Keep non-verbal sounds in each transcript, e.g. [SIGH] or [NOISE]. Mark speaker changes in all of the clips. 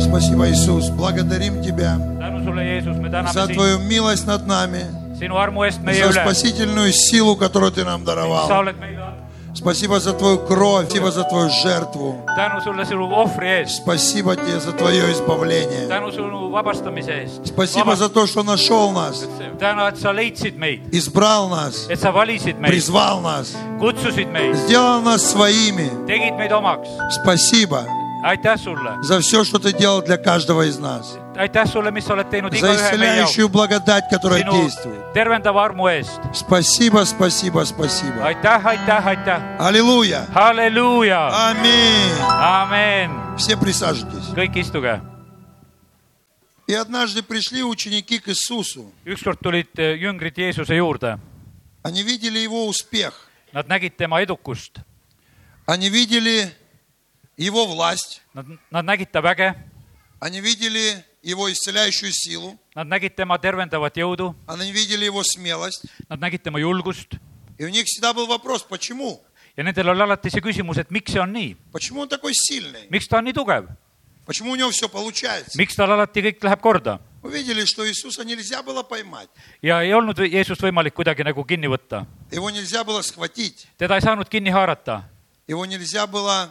Speaker 1: Спасибо, Иисус. Благодарим Тебя
Speaker 2: tänu sulle , Jeesus , me täname
Speaker 1: за
Speaker 2: sind
Speaker 1: Твою милость над нами,
Speaker 2: sinu armu eest meie
Speaker 1: за
Speaker 2: üle .
Speaker 1: спасительную силу, которую Ты нам
Speaker 2: sa
Speaker 1: даровал.
Speaker 2: oled meile andnud .
Speaker 1: Спасибо за Твою кровь, спасибо за Твою жертву.
Speaker 2: tänu sulle sinu ohvri eest ,
Speaker 1: Спасибо Тебе за Твое избавление.
Speaker 2: tänu sinu vabastamise eest .
Speaker 1: Спасибо за то, что нашел нас,
Speaker 2: tänu , et sa leidsid meid ,
Speaker 1: избрал нас,
Speaker 2: et sa valisid meid ,
Speaker 1: призвал нас,
Speaker 2: kutsusid meid ,
Speaker 1: сделал нас своими.
Speaker 2: tegid meid omaks .
Speaker 1: Спасибо
Speaker 2: aitäh sulle ,
Speaker 1: за все, что Ты делал для каждого из нас.
Speaker 2: aitäh sulle , mis sa oled teinud
Speaker 1: За
Speaker 2: igaühe meie jaoks ,
Speaker 1: исцеляющую благодать, которая
Speaker 2: sinu
Speaker 1: действует.
Speaker 2: tervendava armu eest .
Speaker 1: Спасибо, спасибо, спасибо.
Speaker 2: aitäh , aitäh , aitäh ,
Speaker 1: Аллилуйя.
Speaker 2: halleluuja ,
Speaker 1: Аминь.
Speaker 2: amen .
Speaker 1: Все присаживайтесь.
Speaker 2: kõik istuge .
Speaker 1: И однажды пришли ученики к Иисусу.
Speaker 2: ükskord tulid eh, jüngrid Jeesuse juurde ,
Speaker 1: Они видели его успех.
Speaker 2: nad nägid tema edukust ,
Speaker 1: Они видели его власть.
Speaker 2: nad , nad nägid ta väge ,
Speaker 1: Они видели его исцеляющую силу.
Speaker 2: nad nägid tema tervendavat jõudu ,
Speaker 1: Они видели его смелость.
Speaker 2: nad nägid tema julgust
Speaker 1: И у них всегда был вопрос, почему?
Speaker 2: ja nendel oli alati see küsimus , et miks see on nii ,
Speaker 1: Почему он такой сильный?
Speaker 2: miks ta on nii tugev ,
Speaker 1: Почему у него все получается?
Speaker 2: miks tal alati kõik läheb korda
Speaker 1: Увидели, что Иисуса нельзя было поймать.
Speaker 2: ja ei olnud Jeesust võimalik kuidagi nagu kinni võtta ,
Speaker 1: Его нельзя было схватить.
Speaker 2: teda ei saanud kinni haarata ,
Speaker 1: Его нельзя было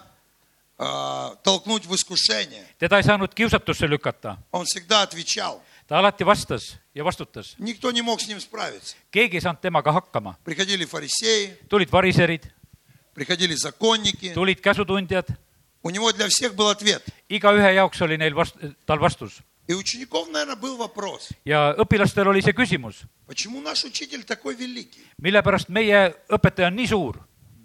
Speaker 1: а, толкнуть в искушение.
Speaker 2: teda ei saanud kiusatusse lükata ,
Speaker 1: Он всегда отвечал.
Speaker 2: ta alati vastas ja vastutas ,
Speaker 1: Никто не мог с ним справиться.
Speaker 2: keegi ei saanud temaga hakkama ,
Speaker 1: Приходили фарисеи,
Speaker 2: tulid variserid ,
Speaker 1: приходили законники.
Speaker 2: tulid käsutundjad ,
Speaker 1: У него для всех был ответ.
Speaker 2: igaühe jaoks oli neil vast- , tal vastus
Speaker 1: И у учеников, наверное, был вопрос.
Speaker 2: ja õpilastel oli see küsimus ,
Speaker 1: Почему наш учитель такой великий?
Speaker 2: mille pärast meie õpetaja on nii suur ,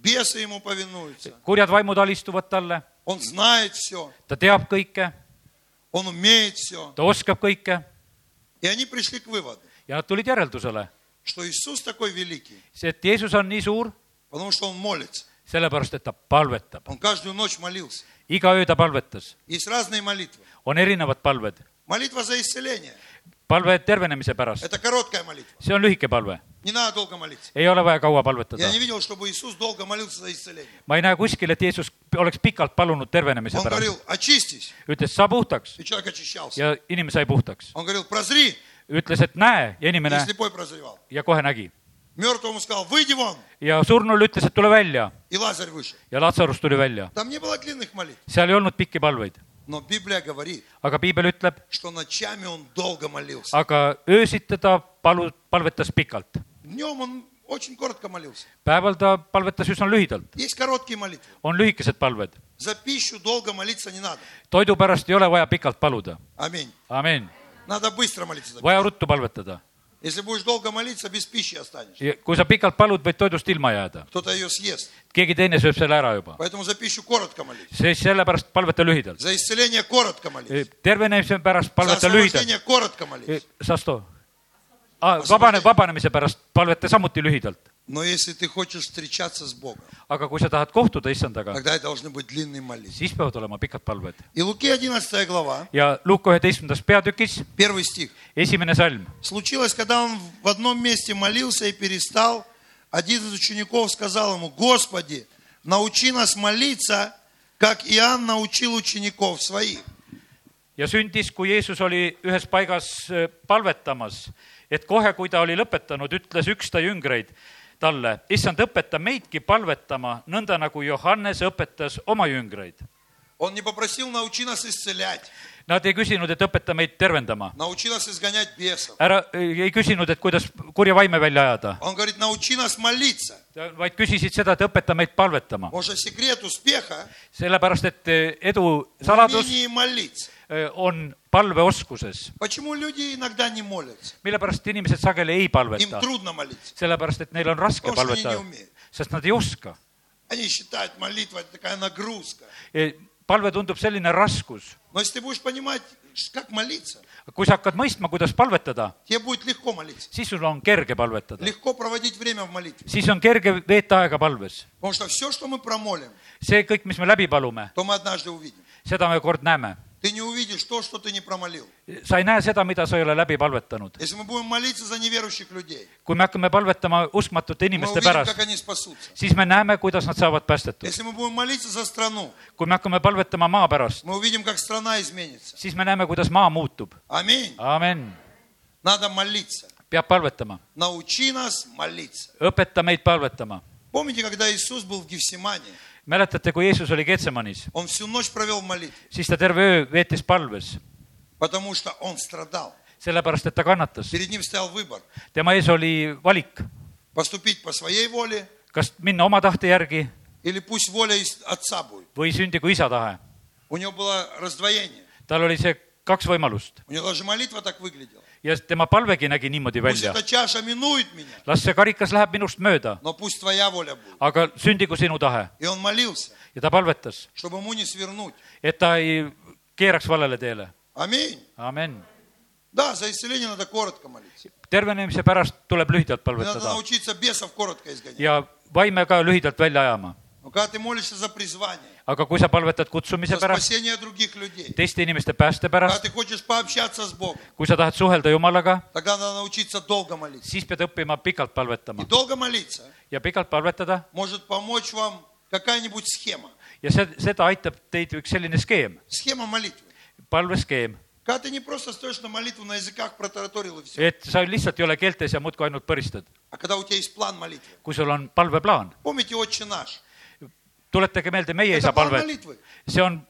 Speaker 1: Бесы ему повинуются.
Speaker 2: kurjad vaimud alistuvad talle ,
Speaker 1: Он знает все.
Speaker 2: ta teab kõike ,
Speaker 1: Он умеет все.
Speaker 2: ta oskab kõike
Speaker 1: И они пришли к выводу,
Speaker 2: ja nad tulid järeldusele ,
Speaker 1: что Иисус такой великий,
Speaker 2: see , et Jeesus on nii suur ,
Speaker 1: потому что он молится.
Speaker 2: sellepärast et ta palvetab ,
Speaker 1: Он каждую ночь молился.
Speaker 2: iga öö ta palvetas ,
Speaker 1: Есть разные молитвы.
Speaker 2: on erinevad palved ,
Speaker 1: Молитва за исцеление.
Speaker 2: palve tervenemise pärast ,
Speaker 1: Это короткая молитва.
Speaker 2: see on lühike palve ,
Speaker 1: Не надо долго молиться.
Speaker 2: ei ole vaja kaua palvetada
Speaker 1: Я не видел, чтобы Иисус долго молился за исцеление.
Speaker 2: ma ei näe kuskil , et Jeesus oleks pikalt palunud tervenemise
Speaker 1: Он
Speaker 2: pärast ,
Speaker 1: говорил, очистись.
Speaker 2: ütles saa puhtaks
Speaker 1: И человек очищался.
Speaker 2: ja inimene sai puhtaks ,
Speaker 1: Он говорил, прозри.
Speaker 2: ütles , et näe ja
Speaker 1: И
Speaker 2: inimene
Speaker 1: слепой прозревал.
Speaker 2: ja kohe nägi
Speaker 1: Мертвому сказал, выйди вон.
Speaker 2: ja surnul ütles , et tule välja
Speaker 1: И Лазарь вышел.
Speaker 2: ja Lazarus tuli välja ,
Speaker 1: Там не было длинных молитв.
Speaker 2: seal ei olnud pikki palveid ,
Speaker 1: Но Библия говорит,
Speaker 2: aga piibel ütleb ,
Speaker 1: что ночами он долго молился.
Speaker 2: aga öösid teda palu , palvetas pikalt ,
Speaker 1: Днем он очень коротко молился.
Speaker 2: päeval ta palvetas üsna lühidalt ,
Speaker 1: Есть короткие молитвы.
Speaker 2: on lühikesed palved ,
Speaker 1: За pищу долго молиться не надо.
Speaker 2: toidu pärast ei ole vaja pikalt paluda ,
Speaker 1: Аминь.
Speaker 2: amin ,
Speaker 1: Надо быстро молиться. за пищу.
Speaker 2: vaja ruttu palvetada .
Speaker 1: Если будешь долго молиться, без пищи останешься.
Speaker 2: kui sa pikalt palud , võid toidust ilma jääda ,
Speaker 1: Кто-то ее съест.
Speaker 2: keegi teine sööb selle ära juba ,
Speaker 1: Поэтому за пищу коротко молись.
Speaker 2: siis sellepärast palveta lühidalt .
Speaker 1: За исцеление коротко
Speaker 2: Э,
Speaker 1: молись.
Speaker 2: tervenemise pärast
Speaker 1: За
Speaker 2: palveta lühidalt .
Speaker 1: освобождение коротко
Speaker 2: Э,
Speaker 1: молись.
Speaker 2: Sasto , vabane , vabanemise pärast palveta samuti lühidalt ,
Speaker 1: Но если ты хочешь встречаться с Богом,
Speaker 2: aga kui sa tahad kohtuda issandaga ,
Speaker 1: тогда это должны быть длинные молитвы.
Speaker 2: siis peavad olema pikad palved
Speaker 1: И Луки 11 глава,
Speaker 2: ja Luuka üheteistkümnendas peatükis
Speaker 1: первый стих.
Speaker 2: esimene salm .
Speaker 1: Случилось, когда он в одном месте молился и перестал, один из учеников сказал ему, Господи, научи нас молиться, как Иоанн научил учеников своих.
Speaker 2: ja sündis , kui Jeesus oli ühes paigas äh, palvetamas , et kohe , kui ta oli lõpetanud , ütles üks ta jüngreid talle , issand , õpeta meidki palvetama , nõnda nagu Johannes õpetas oma jüngreid .
Speaker 1: Он не попросил, научи нас исцелять,
Speaker 2: Nad ei küsinud , et õpeta meid tervendama ,
Speaker 1: научи нас изгонять бесов.
Speaker 2: ära , ei küsinud , et kuidas kurja vaime välja ajada ,
Speaker 1: Он говорит, научи нас молиться.
Speaker 2: vaid küsisid seda , et õpeta meid palvetama .
Speaker 1: Потому что секрет успеха
Speaker 2: sellepärast , et äh, edu
Speaker 1: в
Speaker 2: saladus
Speaker 1: умении молиться.
Speaker 2: äh, on palveoskuses ,
Speaker 1: Почему люди иногда не молятся?
Speaker 2: mille pärast inimesed sageli ei
Speaker 1: Им
Speaker 2: palveta ,
Speaker 1: трудно молиться.
Speaker 2: sellepärast et neil on raske
Speaker 1: Потому что они не
Speaker 2: palvetada
Speaker 1: умеют.
Speaker 2: sest nad ei oska .
Speaker 1: Они считают, молитва это такая нагрузка.
Speaker 2: palve tundub selline raskus ,
Speaker 1: Но если ты будешь понимать, ш- как молиться,
Speaker 2: kui sa hakkad mõistma , kuidas palvetada ,
Speaker 1: тебе будет легко молиться.
Speaker 2: siis sul on kerge palvetada ,
Speaker 1: Легко проводить время в молитве.
Speaker 2: siis on kerge veeta aega palves .
Speaker 1: Потому что все, что мы промолим,
Speaker 2: see kõik , mis me läbi palume ,
Speaker 1: то мы однажды увидим.
Speaker 2: seda me kord näeme .
Speaker 1: Ты не увидишь то, что ты не промолил.
Speaker 2: sa ei näe seda , mida sa ei ole läbi palvetanud .
Speaker 1: Если мы будем молиться за неверующих людей,
Speaker 2: kui me hakkame palvetama uskmatute
Speaker 1: мы
Speaker 2: inimeste
Speaker 1: увидим,
Speaker 2: pärast
Speaker 1: как , они спасутся.
Speaker 2: siis me näeme , kuidas nad saavad päästetud .
Speaker 1: Если мы будем молиться за страну,
Speaker 2: kui me hakkame palvetama maa pärast ,
Speaker 1: мы увидим, как страна изменится.
Speaker 2: siis me näeme , kuidas maa muutub .
Speaker 1: Аминь.
Speaker 2: amen ,
Speaker 1: Надо молиться.
Speaker 2: peab palvetama ,
Speaker 1: Научи нас молиться.
Speaker 2: õpeta meid palvetama .
Speaker 1: Помните, когда Иисус был в Гефсимане,
Speaker 2: mäletate , kui Jeesus oli Getsemanis ,
Speaker 1: Он всю ночь провел в молитве,
Speaker 2: siis ta terve öö veetis palves ,
Speaker 1: потому что Он страдал.
Speaker 2: sellepärast et ta kannatas .
Speaker 1: Перед Ним стоял выбор.
Speaker 2: tema ees oli valik ,
Speaker 1: Поступить по своей воле
Speaker 2: kas minna oma tahte järgi
Speaker 1: или пусть воля из Отца будет.
Speaker 2: või sündigu isa tahe .
Speaker 1: У Него было раздвоение.
Speaker 2: tal oli see kaks võimalust
Speaker 1: У Него даже молитва так выглядела.
Speaker 2: ja tema palvegi nägi niimoodi
Speaker 1: Пусть
Speaker 2: välja
Speaker 1: эта чаша минует меня,
Speaker 2: las see karikas läheb minust mööda ,
Speaker 1: но пусть Твоя воля будет.
Speaker 2: aga sündigu sinu tahe
Speaker 1: И он молился,
Speaker 2: ja ta palvetas ,
Speaker 1: чтобы ему не свернуть.
Speaker 2: et ta ei keeraks valele teele ,
Speaker 1: Аминь.
Speaker 2: amen .
Speaker 1: Да, за исцеление надо коротко молиться.
Speaker 2: tervenemise pärast tuleb lühidalt
Speaker 1: И Надо
Speaker 2: palvetada
Speaker 1: научиться бесов коротко изгонять.
Speaker 2: ja vaime ka lühidalt välja ajama ,
Speaker 1: Но когда ты молишься за призвание,
Speaker 2: aga kui sa palvetad
Speaker 1: за
Speaker 2: kutsumise pärast ,
Speaker 1: спасение других людей,
Speaker 2: teiste inimeste pääste
Speaker 1: когда
Speaker 2: pärast ,
Speaker 1: ты хочешь пообщаться с Бogom,
Speaker 2: kui sa tahad suhelda Jumalaga ,
Speaker 1: тогда надо научиться долго молиться.
Speaker 2: siis pead õppima pikalt
Speaker 1: И
Speaker 2: palvetama
Speaker 1: долго молиться
Speaker 2: ja pikalt palvetada
Speaker 1: может помочь вам какая-нибудь схема.
Speaker 2: ja see , seda aitab teid üks selline skeem ,
Speaker 1: Схема молитвы.
Speaker 2: palveskeem ,
Speaker 1: Когда ты не просто стоишь на молитву на языках, протараторил и все,
Speaker 2: et sa lihtsalt ei ole keeltes ja muudkui ainult põristad ,
Speaker 1: а когда у тебя есть план молитвы.
Speaker 2: kui sul on palveplaan ,
Speaker 1: Помните «Отче наш»?
Speaker 2: tuletage meelde meie
Speaker 1: Это
Speaker 2: isa
Speaker 1: план
Speaker 2: palvet
Speaker 1: молитвы.
Speaker 2: see on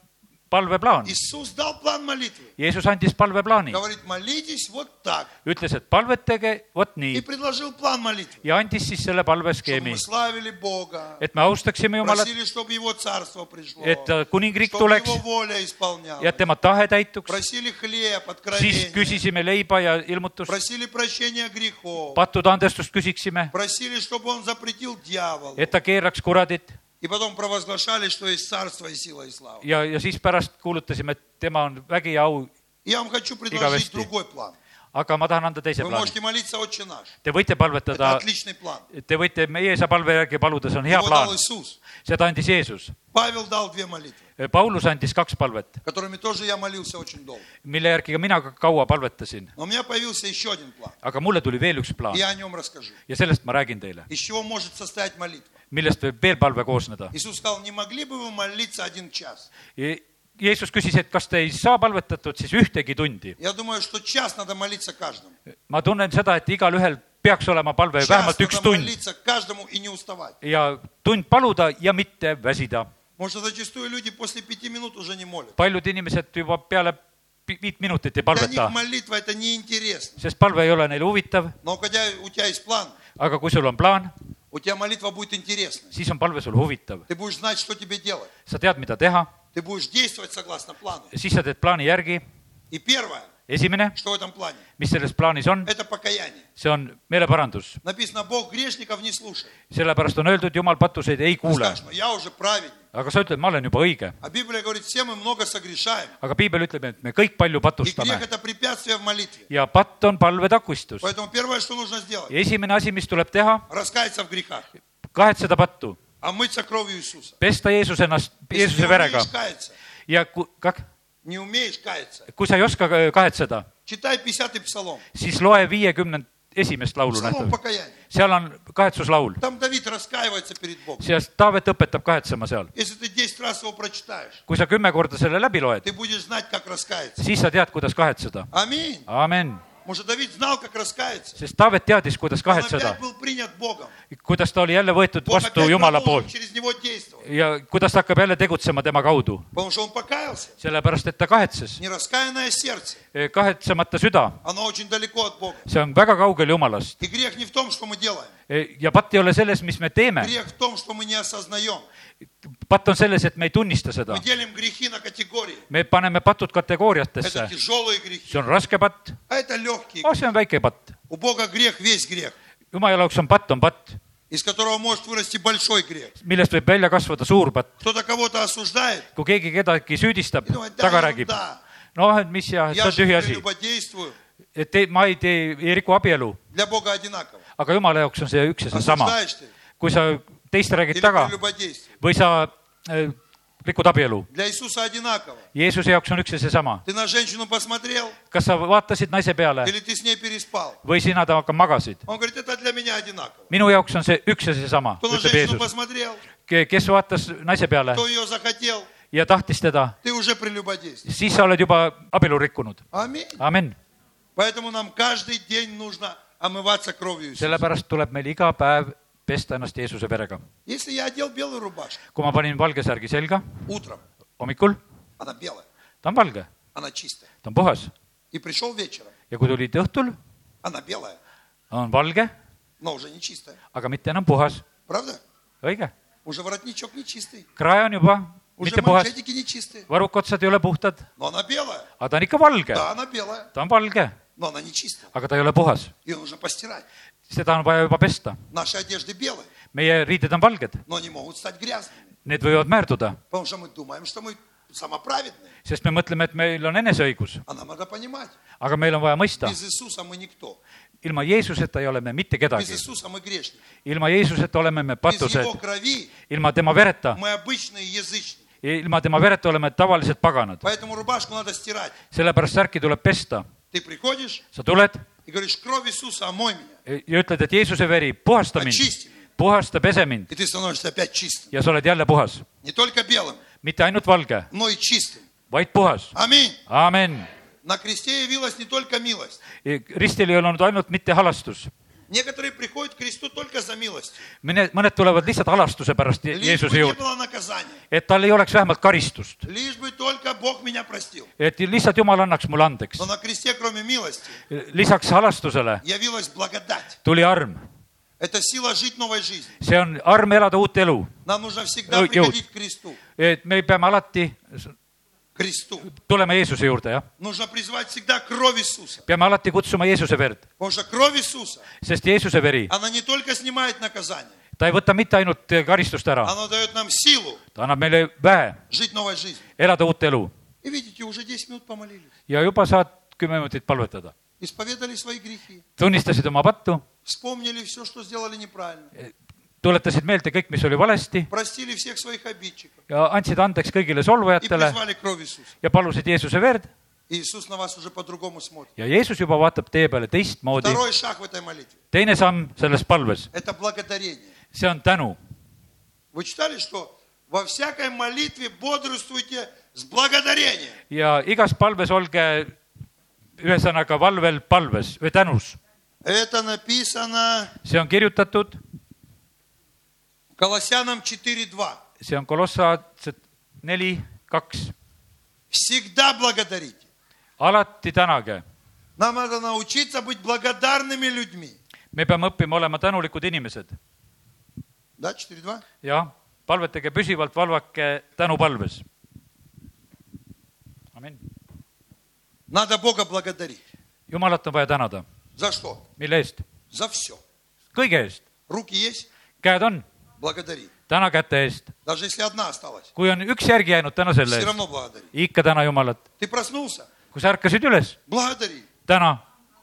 Speaker 2: palveplaan .
Speaker 1: Иисус дал план молитвы.
Speaker 2: Jeesus andis palveplaani ,
Speaker 1: Говорит, молитесь вот так.
Speaker 2: ütles , et palvetage vot
Speaker 1: И
Speaker 2: nii
Speaker 1: предложил план молитвы.
Speaker 2: ja andis siis selle
Speaker 1: Чтобы
Speaker 2: palveskeemi
Speaker 1: мы , славили Бога,
Speaker 2: et me austaksime Jumalat ,
Speaker 1: просили, чтобы Его Царство пришло,
Speaker 2: et ta kuningriik
Speaker 1: чтобы
Speaker 2: tuleks
Speaker 1: Его воля исполнялась.
Speaker 2: ja et tema tahe täituks ,
Speaker 1: Просили хлеб,
Speaker 2: siis
Speaker 1: откровение,
Speaker 2: küsisime leiba ja ilmutust ,
Speaker 1: просили прощения грехов,
Speaker 2: pattude andestust küsiksime ,
Speaker 1: просили, чтобы Он запретил дьяволу.
Speaker 2: et ta keeraks kuradit
Speaker 1: И потом провозглашали, что есть Царство и сила и слава.
Speaker 2: ja , ja siis pärast kuulutasime , et tema on vägi ja au ,
Speaker 1: Я вам хочу предложить
Speaker 2: Игавести.
Speaker 1: другой план.
Speaker 2: aga ma tahan anda teise
Speaker 1: Вы
Speaker 2: plaani .
Speaker 1: можете молиться «Отче наш».
Speaker 2: Te võite
Speaker 1: Это
Speaker 2: palvetada ,
Speaker 1: отличный план.
Speaker 2: te võite meie isa palve järgi paluda , see on hea
Speaker 1: Его дал
Speaker 2: plaan ,
Speaker 1: Иисус.
Speaker 2: seda andis Jeesus .
Speaker 1: Павел дал две молитвы,
Speaker 2: Paulus andis kaks palvet ,
Speaker 1: которыми тоже я молился очень долго.
Speaker 2: mille järgi ka mina ka kaua palvetasin .
Speaker 1: Но у меня появился еще один план.
Speaker 2: aga mulle tuli veel üks plaan
Speaker 1: И я о нем расскажу.
Speaker 2: ja sellest ma räägin teile ,
Speaker 1: Из чего может состоять молитва?
Speaker 2: millest võib veel palve koosneda .
Speaker 1: Иисус сказал, не могли бы вы молиться один час?
Speaker 2: Jeesus küsis , et kas te ei saa palvetatud siis ühtegi tundi .
Speaker 1: Я думаю, что час надо молиться каждому.
Speaker 2: ma tunnen seda , et igalühel peaks olema palve
Speaker 1: Час
Speaker 2: vähemalt
Speaker 1: надо
Speaker 2: üks tund
Speaker 1: молиться каждому и не уставать.
Speaker 2: ja tund paluda ja mitte väsida .
Speaker 1: Потому что зачастую люди после пяти минут уже не молят.
Speaker 2: paljud inimesed juba peale pi- viit minutit ei
Speaker 1: Для них
Speaker 2: palveta ,
Speaker 1: молитва это неинтересно.
Speaker 2: sest palve ei ole neile huvitav ,
Speaker 1: Но когда у тебя есть план,
Speaker 2: aga kui sul on plaan ,
Speaker 1: у тебя молитва будет интересной.
Speaker 2: siis on palve sul huvitav .
Speaker 1: Ты будешь знать, что тебе делать.
Speaker 2: sa tead , mida teha ,
Speaker 1: Ты будешь действовать согласно плану.
Speaker 2: siis sa teed plaani järgi .
Speaker 1: И первое,
Speaker 2: esimene ,
Speaker 1: что в этом плане,
Speaker 2: mis selles plaanis on ,
Speaker 1: это покаяние.
Speaker 2: see on meeleparandus
Speaker 1: Написано, Бог грешников не слушает.
Speaker 2: sellepärast on öeldud , jumal patuseid ei
Speaker 1: Ты
Speaker 2: kuule ,
Speaker 1: скажешь, «Ну, я уже праведник.
Speaker 2: aga sa ütled , ma olen juba õige .
Speaker 1: А Библия говорит, все мы много согрешаем.
Speaker 2: aga piibel ütleb , et me kõik palju
Speaker 1: И грех
Speaker 2: patustame
Speaker 1: это препятствие в молитве.
Speaker 2: ja patt on palve takistus .
Speaker 1: Поэтому первое, что нужно сделать,
Speaker 2: ja esimene asi , mis tuleb teha ,
Speaker 1: раскаяться в грехах,
Speaker 2: kahetseda pattu ,
Speaker 1: омыться кровью Иисуса.
Speaker 2: pesta Jeesus ennast
Speaker 1: Если
Speaker 2: Jeesuse
Speaker 1: не
Speaker 2: verega
Speaker 1: умеешь каяться,
Speaker 2: ja ku, ka,
Speaker 1: не умеешь каяться,
Speaker 2: kui sa ei oska ka- kahetseda ,
Speaker 1: читай 50-й псалом.
Speaker 2: siis loe viiekümnend esimest laulu
Speaker 1: Псалом
Speaker 2: nähtavasti .
Speaker 1: покаяния.
Speaker 2: seal on kahetsuslaul ,
Speaker 1: Там Давид раскаивается перед Богом.
Speaker 2: seal Taavet õpetab kahetsema seal .
Speaker 1: Если ты 10 раз его прочитаешь,
Speaker 2: kui sa kümme korda selle läbi loed ,
Speaker 1: ты будешь знать, как раскаяться.
Speaker 2: siis sa tead , kuidas kahetseda .
Speaker 1: Аминь.
Speaker 2: amen ,
Speaker 1: Может, Давид знал, как раскаяться.
Speaker 2: sest Taavet teadis , kuidas
Speaker 1: Он
Speaker 2: kahetseda
Speaker 1: опять был принят Богом.
Speaker 2: kuidas ta oli jälle võetud
Speaker 1: Бог
Speaker 2: vastu
Speaker 1: опять
Speaker 2: Jumala
Speaker 1: продолжил
Speaker 2: poolt
Speaker 1: через него действовать.
Speaker 2: ja kuidas ta hakkab jälle tegutsema tema kaudu ,
Speaker 1: Потому что он покаялся.
Speaker 2: sellepärast et ta kahetses ,
Speaker 1: Нераскаянное сердце,
Speaker 2: kahetsemata süda ,
Speaker 1: оно очень далеко от Бога.
Speaker 2: see on väga kaugel Jumalast
Speaker 1: И грех не в том, что мы делаем.
Speaker 2: ja patt ei ole selles , mis me teeme ,
Speaker 1: Грех в том, что мы не осознаем.
Speaker 2: patt on selles , et me ei tunnista seda
Speaker 1: Мы , делим грехи на категории.
Speaker 2: me paneme patud kategooriatesse
Speaker 1: Это , тяжелые грехи,
Speaker 2: see on raske patt ,
Speaker 1: а это легкие.
Speaker 2: oh see on väike patt ,
Speaker 1: У Бога грех весь грех,
Speaker 2: Jumala jaoks on patt , on patt ,
Speaker 1: из которого может вырасти большой грех.
Speaker 2: millest võib välja kasvada suur patt ,
Speaker 1: Кто-то кого-то осуждает
Speaker 2: kui keegi kedagi süüdistab
Speaker 1: и думает, ,
Speaker 2: taga
Speaker 1: да,
Speaker 2: räägib ,
Speaker 1: ерунда,
Speaker 2: noh , et mis ja see
Speaker 1: я
Speaker 2: on
Speaker 1: же
Speaker 2: tühi
Speaker 1: не
Speaker 2: asi ,
Speaker 1: любодействую.
Speaker 2: et ei- ma ei tee , ei riku abielu ,
Speaker 1: Для Бога одинаково.
Speaker 2: aga Jumala jaoks on see üks ja seesama
Speaker 1: Осуждаешь ты
Speaker 2: kui sa teist
Speaker 1: или
Speaker 2: räägid taga
Speaker 1: ты любодействуешь.
Speaker 2: või sa äh, likud abielu .
Speaker 1: Для Иисуса одинаково.
Speaker 2: Jeesuse jaoks on üks ja seesama .
Speaker 1: Ты на женщину посмотрел
Speaker 2: kas sa vaatasid naise peale
Speaker 1: или ты с ней переспал?
Speaker 2: või sina temaga magasid ?
Speaker 1: Он говорит, это для меня одинаково.
Speaker 2: minu jaoks on see üks ja seesama ,
Speaker 1: Кто на
Speaker 2: ütleb
Speaker 1: женщину
Speaker 2: Jeesus .
Speaker 1: посмотрел,
Speaker 2: kes vaatas naise peale
Speaker 1: кто ее захотел,
Speaker 2: ja tahtis teda ,
Speaker 1: ты уже прелюбодействовал.
Speaker 2: siis sa oled juba abielu rikkunud .
Speaker 1: Аминь.
Speaker 2: amin .
Speaker 1: Поэтому нам каждый день нужно омываться кровью Иисуса.
Speaker 2: sellepärast tuleb meil iga päev pesta ennast Jeesuse verega .
Speaker 1: Если я одел белую рубашку
Speaker 2: kui ma panin valge särgi selga
Speaker 1: утром,
Speaker 2: hommikul ,
Speaker 1: она белая,
Speaker 2: ta on valge ,
Speaker 1: она чистая.
Speaker 2: ta on puhas
Speaker 1: И пришел вечером,
Speaker 2: ja kui tulid õhtul ,
Speaker 1: она белая,
Speaker 2: on valge ,
Speaker 1: но уже не чистая.
Speaker 2: aga mitte enam puhas ,
Speaker 1: Правда?
Speaker 2: õige .
Speaker 1: Уже воротничок не чистый,
Speaker 2: krae on juba
Speaker 1: уже
Speaker 2: mitte puhas ,
Speaker 1: манжетики не чистые,
Speaker 2: varrukotsad ei ole puhtad ,
Speaker 1: но она белая.
Speaker 2: aga ta on ikka valge ,
Speaker 1: Да, она белая,
Speaker 2: ta on valge ,
Speaker 1: но она не чистая.
Speaker 2: aga ta ei ole puhas .
Speaker 1: Ее нужно постирать.
Speaker 2: seda on vaja juba pesta .
Speaker 1: Наши одежды белые,
Speaker 2: meie riided on valged ,
Speaker 1: но они могут стать грязными,
Speaker 2: need võivad määrduda ,
Speaker 1: потому что мы думаем, что мы самоправедные.
Speaker 2: sest me mõtleme , et meil on eneseõigus ,
Speaker 1: А нам надо понимать,
Speaker 2: aga meil on vaja mõista ,
Speaker 1: без Иисуса мы никто.
Speaker 2: ilma Jeesuseta ei ole me mitte
Speaker 1: Без
Speaker 2: kedagi ,
Speaker 1: Иисуса мы грешники.
Speaker 2: ilma Jeesuseta oleme me
Speaker 1: Без Его
Speaker 2: patused ,
Speaker 1: крови
Speaker 2: ilma tema vereta ,
Speaker 1: мы обычные язычники.
Speaker 2: ilma tema vereta oleme tavalised paganad .
Speaker 1: Поэтому рубашку надо стирать.
Speaker 2: sellepärast särki tuleb pesta ,
Speaker 1: Ты приходишь
Speaker 2: sa tuled
Speaker 1: и говоришь, кровь Иисуса омой меня.
Speaker 2: ja ütled , et Jeesuse veri , puhasta mind ,
Speaker 1: Очисти меня.
Speaker 2: puhasta , pese mind
Speaker 1: И ты становишься опять чистым.
Speaker 2: ja sa oled jälle puhas ,
Speaker 1: Не только белым,
Speaker 2: mitte ainult valge ,
Speaker 1: но и чистым.
Speaker 2: vaid puhas ,
Speaker 1: Аминь.
Speaker 2: aamen .
Speaker 1: На кресте явилась не только милость.
Speaker 2: ristil ei olnud ainult mitte halastus ,
Speaker 1: Некоторые приходят к кресту только за милость.
Speaker 2: mõned , mõned tulevad lihtsalt halastuse pärast Je-
Speaker 1: Лишь бы
Speaker 2: Jeesuse
Speaker 1: не
Speaker 2: juurde ,
Speaker 1: было наказания.
Speaker 2: et tal ei oleks vähemalt karistust ,
Speaker 1: Лишь бы только Бог меня простил.
Speaker 2: et lihtsalt Jumal annaks mulle andeks
Speaker 1: Но . на кресте, кроме милости,
Speaker 2: lisaks halastusele
Speaker 1: явилась благодать.
Speaker 2: tuli arm ,
Speaker 1: Это сила жить новой жизнью.
Speaker 2: see on arm elada uut elu ,
Speaker 1: Нам нужно всегда
Speaker 2: Ну,
Speaker 1: приходить к кресту.
Speaker 2: et me peame alati
Speaker 1: К кресту.
Speaker 2: tulema Jeesuse juurde , jah .
Speaker 1: Нужно призвать всегda кровь Иисуса.
Speaker 2: peame alati kutsuma Jeesuse verd ,
Speaker 1: Потому что кровь Иисуса,
Speaker 2: sest Jeesuse veri ,
Speaker 1: она не только sнимает наказание,
Speaker 2: ta ei võta mitte ainult karistust ära ,
Speaker 1: она дает нам силу
Speaker 2: ta annab meile väe
Speaker 1: жить новой жизнью.
Speaker 2: elada uut elu
Speaker 1: И видите, уже 10 минут помолились.
Speaker 2: ja juba saad kümme minutit palvetada .
Speaker 1: Исповедали свои грехи.
Speaker 2: tunnistasid oma pattu ,
Speaker 1: Вспомнили все, что сделали неправильно.
Speaker 2: tuletasid meelde kõik , mis oli valesti
Speaker 1: Простили всех своих обидчиков.
Speaker 2: ja andsid andeks kõigile
Speaker 1: И
Speaker 2: solvajatele
Speaker 1: призвали кровь Иисуса.
Speaker 2: ja palusid Jeesuse verd
Speaker 1: И Иисус на вас уже по-другому смотрит.
Speaker 2: ja Jeesus juba vaatab teie peale teistmoodi .
Speaker 1: Второй шаг в этой молитве
Speaker 2: teine samm selles palves ,
Speaker 1: – это благодарение.
Speaker 2: see on tänu
Speaker 1: Вы читали, что во всякой молитве бодрствуйте с благодарением.
Speaker 2: ja igas palves olge ühesõnaga valvel palves või tänus .
Speaker 1: Это написано
Speaker 2: see on kirjutatud ,
Speaker 1: Колоссянам 4.2.
Speaker 2: see on kolossaat neli , kaks .
Speaker 1: Всегда благодарите.
Speaker 2: alati tänage .
Speaker 1: Нам надо научиться быть благодарными людьми.
Speaker 2: me peame õppima olema tänulikud inimesed
Speaker 1: Да, 4.2?
Speaker 2: ja palvetage püsivalt , valvake tänupalves . amin .
Speaker 1: Надо Бога благодарить.
Speaker 2: jumalat on vaja tänada ,
Speaker 1: За что?
Speaker 2: mille eest ?
Speaker 1: За все.
Speaker 2: kõige eest ,
Speaker 1: Руки есть?
Speaker 2: käed on ,
Speaker 1: Благодари.
Speaker 2: täna käte eest ,
Speaker 1: Даже если одна осталась,
Speaker 2: kui on üks järgi jäänud , täna selle
Speaker 1: все
Speaker 2: eest ,
Speaker 1: равно благодари.
Speaker 2: ikka täna Jumalat .
Speaker 1: Ты проснулся?
Speaker 2: kui sa ärkasid üles ,
Speaker 1: Благодари.
Speaker 2: täna ,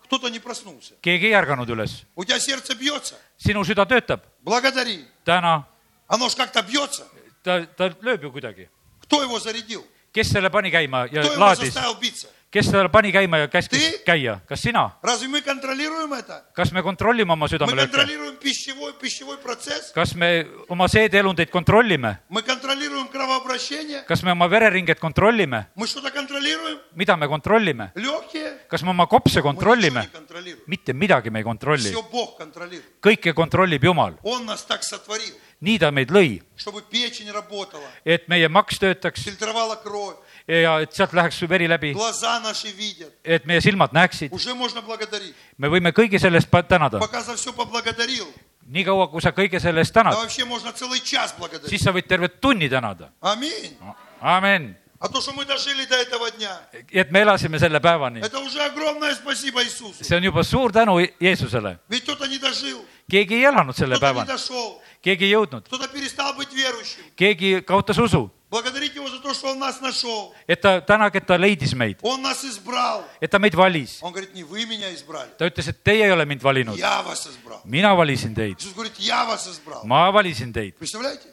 Speaker 1: Кто-то не проснулся.
Speaker 2: keegi ei ärganud üles ,
Speaker 1: У тебя сердце бьется?
Speaker 2: sinu süda töötab ,
Speaker 1: Благодари.
Speaker 2: täna ,
Speaker 1: Оно ж как-то бьется.
Speaker 2: ta , ta lööb ju kuidagi .
Speaker 1: Кто его зарядил?
Speaker 2: kes selle pani käima ja
Speaker 1: Кто его
Speaker 2: laadis ,
Speaker 1: заставил биться?
Speaker 2: kes selle pani käima ja käskis
Speaker 1: Ti-
Speaker 2: käia , kas sina ?
Speaker 1: Разве мы контролируем это?
Speaker 2: kas me kontrollime oma
Speaker 1: Мы
Speaker 2: südamelööke ?
Speaker 1: контролируем пищевой, пищевой процесс,
Speaker 2: kas me oma seedeelundeid kontrollime ?
Speaker 1: мы контролируем кровообращение,
Speaker 2: kas me oma vereringet kontrollime ?
Speaker 1: мы что-то контролируем,
Speaker 2: mida me kontrollime ?
Speaker 1: легкие,
Speaker 2: kas me oma kopse
Speaker 1: мы ничего
Speaker 2: kontrollime
Speaker 1: не ? контролируем.
Speaker 2: mitte midagi me ei kontrolli ,
Speaker 1: Все Бог контролирует.
Speaker 2: kõike kontrollib Jumal .
Speaker 1: Он нас так сотворил,
Speaker 2: nii ta meid lõi ,
Speaker 1: чтобы печень работала,
Speaker 2: et meie maks töötaks
Speaker 1: фильтровала кровь,
Speaker 2: ja et sealt läheks veri läbi ,
Speaker 1: глаза наши видят.
Speaker 2: et meie silmad näeksid .
Speaker 1: Уже можно благодарить.
Speaker 2: me võime kõige selle eest pa- tänada .
Speaker 1: Пока за все поблагодарил,
Speaker 2: niikaua , kui sa kõige selle eest
Speaker 1: да
Speaker 2: tänad ,
Speaker 1: вообще можно целый час благодарить.
Speaker 2: siis sa võid tervet tunni tänada .
Speaker 1: Аминь.
Speaker 2: amin .
Speaker 1: А то, что мы дожили до этого дня,
Speaker 2: et me elasime selle päevani ,
Speaker 1: это уже огромное спасибо Иисусу.
Speaker 2: see on juba suur tänu Jeesusele .
Speaker 1: Ведь кто-то не дожил,
Speaker 2: keegi ei elanud selle
Speaker 1: кто-то не
Speaker 2: päevani ,
Speaker 1: дошел,
Speaker 2: keegi ei jõudnud ,
Speaker 1: кто-то перестал быть верующим.
Speaker 2: keegi kaotas usu ,
Speaker 1: Благодарить Его за то, что Он нас нашел.
Speaker 2: et ta tänage , et ta leidis meid ,
Speaker 1: Он нас избрал.
Speaker 2: et ta meid valis .
Speaker 1: Он говорит, не вы меня избрали,
Speaker 2: ta ütles , et teie ei ole mind valinud ,
Speaker 1: я вас избрал.
Speaker 2: mina valisin teid ,
Speaker 1: Иисус говорит, я вас избрал.
Speaker 2: ma valisin teid ,
Speaker 1: Представляете?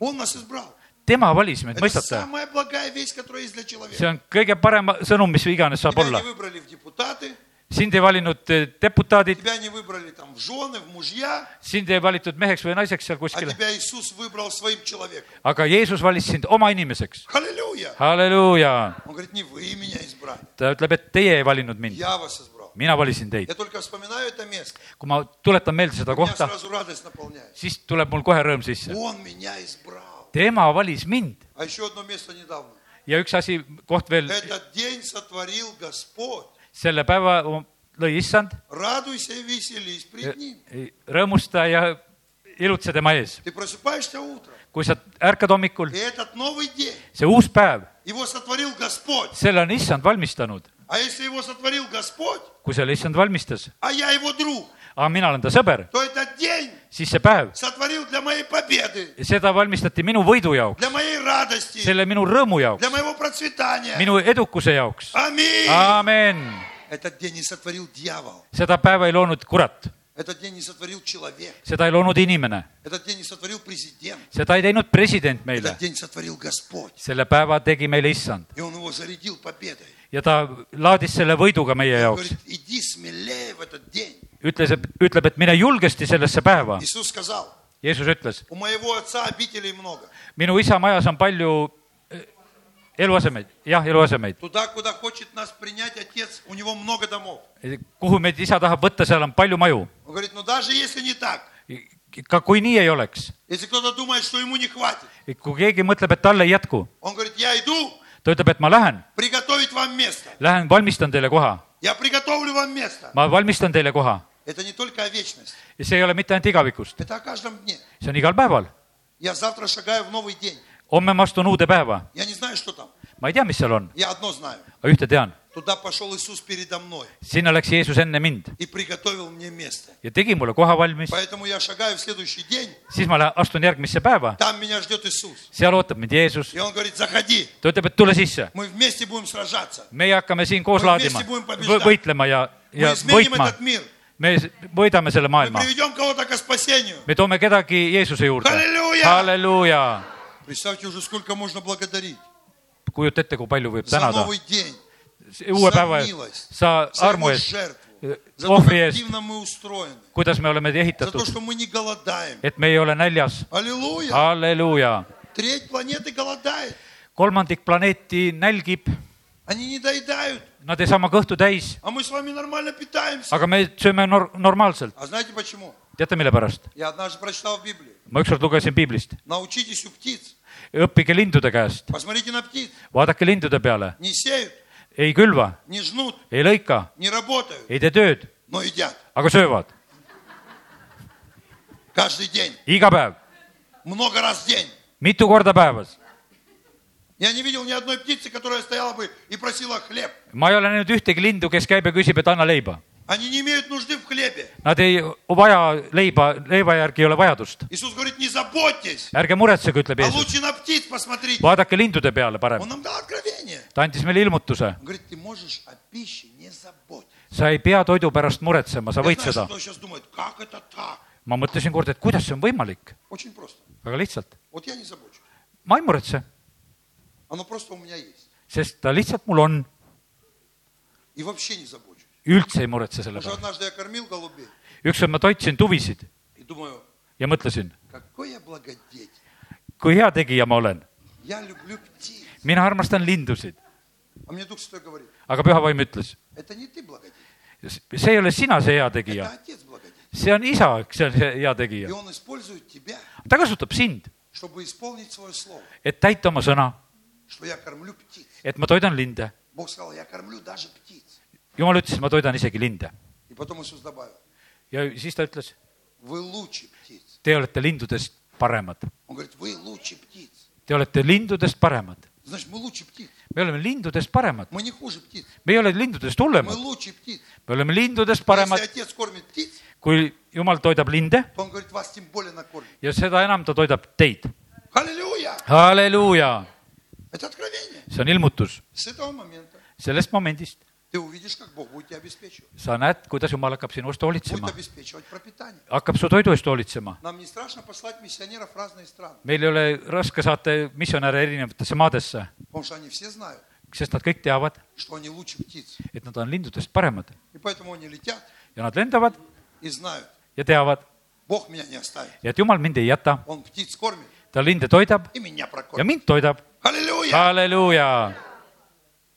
Speaker 1: Он нас избрал.
Speaker 2: tema valis meid ,
Speaker 1: Это
Speaker 2: mõistate ?
Speaker 1: самая благая весть, которая есть для человека.
Speaker 2: see on kõige parem sõnum , mis iganes saab
Speaker 1: Тебя
Speaker 2: olla
Speaker 1: не . выбрали в депутаты,
Speaker 2: sind ei valinud eh, deputaadid ,
Speaker 1: тебя не выбрали там в жены, в мужья,
Speaker 2: sind ei valitud meheks või naiseks seal
Speaker 1: а
Speaker 2: kuskil ,
Speaker 1: тебя Иисус выбрал своим человеком.
Speaker 2: aga Jeesus valis sind oma inimeseks .
Speaker 1: Аллилуйя!
Speaker 2: halleluuja ,
Speaker 1: Он говорит, не вы меня избрали,
Speaker 2: ta ütleb , et teie ei valinud mind ,
Speaker 1: я вас избрал.
Speaker 2: mina valisin teid
Speaker 1: Я . только вспоминаю это место,
Speaker 2: kui ma tuletan meelde seda
Speaker 1: меня
Speaker 2: kohta ,
Speaker 1: сразу радость наполняет.
Speaker 2: siis tuleb mul kohe rõõm sisse .
Speaker 1: Он меня избрал.
Speaker 2: tema valis mind
Speaker 1: А еще одно место недавно.
Speaker 2: ja üks asi , koht veel ,
Speaker 1: Этот день сотворил Господь.
Speaker 2: selle päeva lõi issand ,
Speaker 1: Радуйся и веселись пред Ним.
Speaker 2: rõõmusta ja ilutse tema ees .
Speaker 1: Ты просыпаешься утром,
Speaker 2: kui sa ärkad hommikul
Speaker 1: и , этот новый день,
Speaker 2: see uus päev ,
Speaker 1: его sotvorил Господь.
Speaker 2: selle on issand valmistanud ,
Speaker 1: А если его сотворил Господь,
Speaker 2: kui selle issand valmistas ,
Speaker 1: а я его друг,
Speaker 2: aga mina olen ta sõber ,
Speaker 1: то этот день
Speaker 2: siis see päev ,
Speaker 1: сотворил для моей победы,
Speaker 2: seda valmistati minu võidu jaoks ,
Speaker 1: для моей радости,
Speaker 2: selle minu rõõmu jaoks ,
Speaker 1: для моего процветания.
Speaker 2: minu edukuse jaoks .
Speaker 1: Аминь!
Speaker 2: А. aamen ,
Speaker 1: Этот день не сотворил дьявол,
Speaker 2: seda päeva ei loonud kurat ,
Speaker 1: этот день не сотворил человек,
Speaker 2: seda ei loonud inimene ,
Speaker 1: этот день не сотворил президент,
Speaker 2: seda ei teinud president meile
Speaker 1: этот день sotvorил Господь.
Speaker 2: selle päeva tegi meile issand
Speaker 1: И он его зарядил победой.
Speaker 2: ja ta laadis selle võiduga meie jaoks
Speaker 1: Говорит, иди смелее в этот день.
Speaker 2: ütles , ütleb , et mine julgesti sellesse päeva .
Speaker 1: Иисус сказал,
Speaker 2: Jeesus ütles ,
Speaker 1: у моего отца обителей много.
Speaker 2: minu isa majas on palju eh, eluasemeid , jah , eluasemeid .
Speaker 1: Туда, куда хочет нас принять отец, у него много домов.
Speaker 2: kuhu meid isa tahab võtta , seal on palju maju .
Speaker 1: Он говорит, ну даже если не так,
Speaker 2: ka kui nii ei oleks ,
Speaker 1: если кто-то думает, что ему не хватит,
Speaker 2: kui keegi mõtleb , et tal ei jätku ,
Speaker 1: он говорит, я иду
Speaker 2: ta ütleb , et ma lähen ,
Speaker 1: приготовить вам место.
Speaker 2: lähen valmistan teile koha ,
Speaker 1: Я приготовлю вам место.
Speaker 2: ma valmistan teile koha .
Speaker 1: Это не только о вечности,
Speaker 2: ja see ei ole mitte ainult igavikust ,
Speaker 1: это о каждом дне.
Speaker 2: see on igal päeval .
Speaker 1: Я завтра шагаю в новый день.
Speaker 2: homme ma astun uude päeva ,
Speaker 1: Я не знаю, что там.
Speaker 2: ma ei tea , mis seal on ,
Speaker 1: Я одно знаю.
Speaker 2: aga ühte tean ,
Speaker 1: Туда пошел Иисус передо мной
Speaker 2: sinna läks Jeesus enne mind
Speaker 1: и приготовил мне место.
Speaker 2: ja tegi mulle koha valmis ,
Speaker 1: Поэтому я шагаю в следующий день,
Speaker 2: siis ma lä- astun järgmisse päeva ,
Speaker 1: там меня ждет Иисус.
Speaker 2: seal ootab mind Jeesus ,
Speaker 1: И он говорит, заходи,
Speaker 2: ta ütleb , et tule sisse ,
Speaker 1: мы вместе будем сражаться.
Speaker 2: meie hakkame siin koos
Speaker 1: Me
Speaker 2: laadima
Speaker 1: vmesti budeme , побеждать.
Speaker 2: võitlema ja , ja
Speaker 1: Мы изменим
Speaker 2: võitma
Speaker 1: этот , мир.
Speaker 2: me s- võidame selle
Speaker 1: Мы
Speaker 2: maailma ,
Speaker 1: приведем кого-то к спасению.
Speaker 2: me toome kedagi Jeesuse juurde ,
Speaker 1: Halleluuja!
Speaker 2: halleluuja ,
Speaker 1: Представьте уже, сколько можно благодарить
Speaker 2: kujuta ette , kui palju võib
Speaker 1: за
Speaker 2: tänada
Speaker 1: новый день,
Speaker 2: See uue
Speaker 1: за
Speaker 2: päeva eest ,
Speaker 1: милость,
Speaker 2: sa
Speaker 1: за
Speaker 2: armu
Speaker 1: его
Speaker 2: eest ,
Speaker 1: жертву,
Speaker 2: э,
Speaker 1: за то, как
Speaker 2: ohvri eest ,
Speaker 1: активно мы устроены,
Speaker 2: kuidas me oleme
Speaker 1: за то,
Speaker 2: ehitatud ,
Speaker 1: что мы не голодаем.
Speaker 2: et me ei ole näljas , А.
Speaker 1: Аллилуйя!
Speaker 2: halleluuja .
Speaker 1: Треть планеты голодает.
Speaker 2: kolmandik planeeti nälgib ,
Speaker 1: Они не доедают,
Speaker 2: nad ei saa oma kõhtu täis ,
Speaker 1: а мы с вами нормально питаемся.
Speaker 2: aga me sööme nor- , normaalselt .
Speaker 1: А знаете почему?
Speaker 2: teate , mille pärast ?
Speaker 1: Я однажды прочитал в Библии.
Speaker 2: ma ükskord lugesin piiblist ,
Speaker 1: Научитесь у птиц.
Speaker 2: õppige lindude käest ,
Speaker 1: Посмотрите на птиц.
Speaker 2: vaadake lindude peale ,
Speaker 1: Не сеют,
Speaker 2: ei külva ,
Speaker 1: не жнут,
Speaker 2: ei lõika ,
Speaker 1: не работают,
Speaker 2: ei tee tööd ,
Speaker 1: но едят.
Speaker 2: aga söövad
Speaker 1: Каждый день.
Speaker 2: iga päev ,
Speaker 1: Много раз в день.
Speaker 2: mitu korda päevas .
Speaker 1: Я не видел ни одной птицы, которая стояла бы и просила хлеб.
Speaker 2: ma ei ole näinud ühtegi lindu , kes käib ja küsib , et anna leiba .
Speaker 1: Они не имеют нужды в хлебе.
Speaker 2: Nad ei vaja leiba , leiva järgi ei ole vajadust .
Speaker 1: Иисус говорит, не заботьтесь,
Speaker 2: ärge мuretsege , ütleb
Speaker 1: а
Speaker 2: Jeesus ,
Speaker 1: лучше на птиц посмотрите.
Speaker 2: vaadake lindude peale parem
Speaker 1: Он . нам дал откровение.
Speaker 2: ta andis meile ilmutuse ,
Speaker 1: Он говорит, ты можешь о пище не заботиться.
Speaker 2: sa ei pea toidu pärast muretsema , sa
Speaker 1: Я
Speaker 2: võid
Speaker 1: знаю, что
Speaker 2: seda .
Speaker 1: кто сейчас думает, как это так?
Speaker 2: ma mõtlesin kord , et kuidas see on võimalik ,
Speaker 1: Очень просто.
Speaker 2: väga lihtsalt .
Speaker 1: Вот я не забочу.
Speaker 2: ma ei muretse ,
Speaker 1: Оно просто у меня есть.
Speaker 2: sest ta lihtsalt mul on ,
Speaker 1: И вообще не забочу.
Speaker 2: üldse ei muretse selle
Speaker 1: Потому что
Speaker 2: peale .
Speaker 1: однажды я кормил голубей
Speaker 2: ükskord ma toitsin tuvisid
Speaker 1: и думаю,
Speaker 2: ja mõtlesin ,
Speaker 1: какой я благодетель.
Speaker 2: kui hea tegija ma olen ,
Speaker 1: Я люблю птиц.
Speaker 2: mina armastan lindusid ,
Speaker 1: А мне Дух Святой говорит,
Speaker 2: aga püha vaim ütles ,
Speaker 1: это не ты благодетель,
Speaker 2: see ei ole sina , see hea tegija
Speaker 1: это Отец благодетель.
Speaker 2: see on isa , eks see on see hea
Speaker 1: И
Speaker 2: tegija .
Speaker 1: Он использует тебя,
Speaker 2: ta kasutab sind ,
Speaker 1: чтобы исполнить свое слово,
Speaker 2: et täita oma sõna ,
Speaker 1: что я кормлю птиц.
Speaker 2: et ma toidan linde .
Speaker 1: Бог сказал, я кормлю даже птиц.
Speaker 2: jumal ütles , ma toidan isegi linde .
Speaker 1: И потом Иисус добавил,
Speaker 2: ja siis ta ütles ,
Speaker 1: вы лучше птиц.
Speaker 2: te olete lindudest paremad ,
Speaker 1: Он говорит, вы лучше птиц.
Speaker 2: te olete lindudest paremad .
Speaker 1: Значит, мы лучше птиц.
Speaker 2: me oleme lindudest paremad ,
Speaker 1: Мы не хуже птиц.
Speaker 2: me ei ole lindudest
Speaker 1: Мы
Speaker 2: hullemad ,
Speaker 1: лучше птиц. А
Speaker 2: me oleme lindudest
Speaker 1: Если
Speaker 2: paremad ,
Speaker 1: Отец кормит птиц,
Speaker 2: kui jumal toidab linde
Speaker 1: то Он говорит, вас тем более накормит.
Speaker 2: ja seda enam ta toidab teid .
Speaker 1: Аллилуйя!
Speaker 2: halleluuja ,
Speaker 1: Это откровение.
Speaker 2: see on ilmutus
Speaker 1: С этого момента
Speaker 2: sellest momendist ,
Speaker 1: ты Ты увидишь, как Бог будет тебя обеспечивать.
Speaker 2: sa näed , kuidas Jumal hakkab sinu eest hoolitsema
Speaker 1: Будет , обеспечивать пропитание.
Speaker 2: hakkab su toidu eest hoolitsema .
Speaker 1: Нам не страшно послать миссионеров в разные страны,
Speaker 2: meil ei ole raske saata missionäre erinevatesse maadesse ,
Speaker 1: потому что они все знают,
Speaker 2: sest nad kõik teavad ,
Speaker 1: что они лучше птиц.
Speaker 2: et nad on lindudest paremad
Speaker 1: И поэтому они летят
Speaker 2: ja nad lendavad
Speaker 1: и знают,
Speaker 2: ja teavad ,
Speaker 1: Бог меня не оставит.
Speaker 2: et Jumal mind ei jäta ,
Speaker 1: Он птиц кормит
Speaker 2: ta linde toidab
Speaker 1: и меня
Speaker 2: ja
Speaker 1: прокормит.
Speaker 2: mind toidab .
Speaker 1: Аллилуйя!
Speaker 2: halleluuja .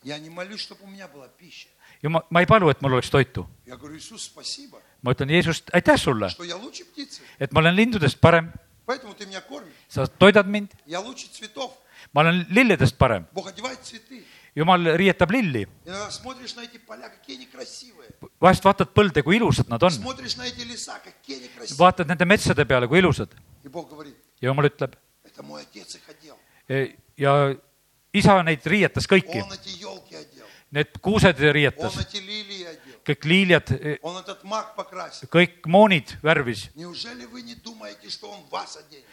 Speaker 1: Я не молюсь, чтобы у меня была пища.
Speaker 2: jumal , ma ei palu , et mul oleks toitu .
Speaker 1: Я говорю, Иисус, спасибо,
Speaker 2: ma ütlen Jeesust , aitäh sulle ,
Speaker 1: что я лучше птицы,
Speaker 2: et ma olen lindudest parem ,
Speaker 1: поэтому ты меня кормишь.
Speaker 2: sa toidad mind ,
Speaker 1: Я лучше цветов.
Speaker 2: ma olen lilledest parem .
Speaker 1: Бог одевает цветы.
Speaker 2: jumal riietab lilli ,
Speaker 1: Иногда смотришь на эти поля, какие они красивые.
Speaker 2: vahest vaatad põlde , kui ilusad nad on ,
Speaker 1: Смотришь на эти леса, какие они красивые.
Speaker 2: vaatad nende metsade peale , kui ilusad
Speaker 1: И Бог говорит,
Speaker 2: ja jumal ütleb
Speaker 1: это мой отец их одел.
Speaker 2: e- ja isa neid riietas kõiki ,
Speaker 1: Он эти елки одел.
Speaker 2: need kuused
Speaker 1: Он
Speaker 2: riietas ,
Speaker 1: эти лилии одел.
Speaker 2: kõik liiljad ,
Speaker 1: Он этот мак покрасил.
Speaker 2: kõik moonid värvis .
Speaker 1: Неужели вы не думаете, что он вас оденет?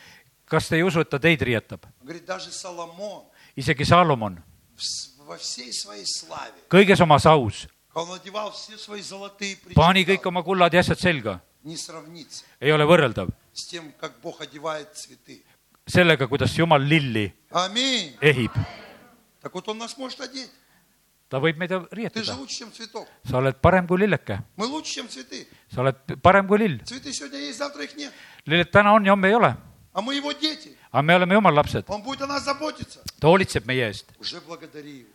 Speaker 2: kas te ei usu , et ta teid riietab ?
Speaker 1: Он говорит, даже Соломон
Speaker 2: isegi Salomon ,
Speaker 1: в с- во всей своей славе,
Speaker 2: kõiges omas aus ,
Speaker 1: когда он одевал все свои золотые
Speaker 2: pani kõik
Speaker 1: причины,
Speaker 2: oma kullad ja asjad selga ,
Speaker 1: не сравнится
Speaker 2: ei ole võrreldav
Speaker 1: с тем, как Бог одевает цветы.
Speaker 2: sellega , kuidas Jumal lilli
Speaker 1: Аминь.
Speaker 2: ehib .
Speaker 1: Так вот он нас может одеть.
Speaker 2: ta võib meid
Speaker 1: Ты же
Speaker 2: riietada ,
Speaker 1: лучше, чем цветок.
Speaker 2: sa oled parem kui lilleke ,
Speaker 1: Мы лучше, чем цветы.
Speaker 2: sa oled parem kui lill ,
Speaker 1: Цветы сегодня есть, завтра их нет.
Speaker 2: lilled täna on ja homme ei ole ,
Speaker 1: А мы его дети.
Speaker 2: aga me oleme Jumala lapsed ,
Speaker 1: Он будет о нас заботиться.
Speaker 2: ta hoolitseb meie eest ,
Speaker 1: Уже благодари его.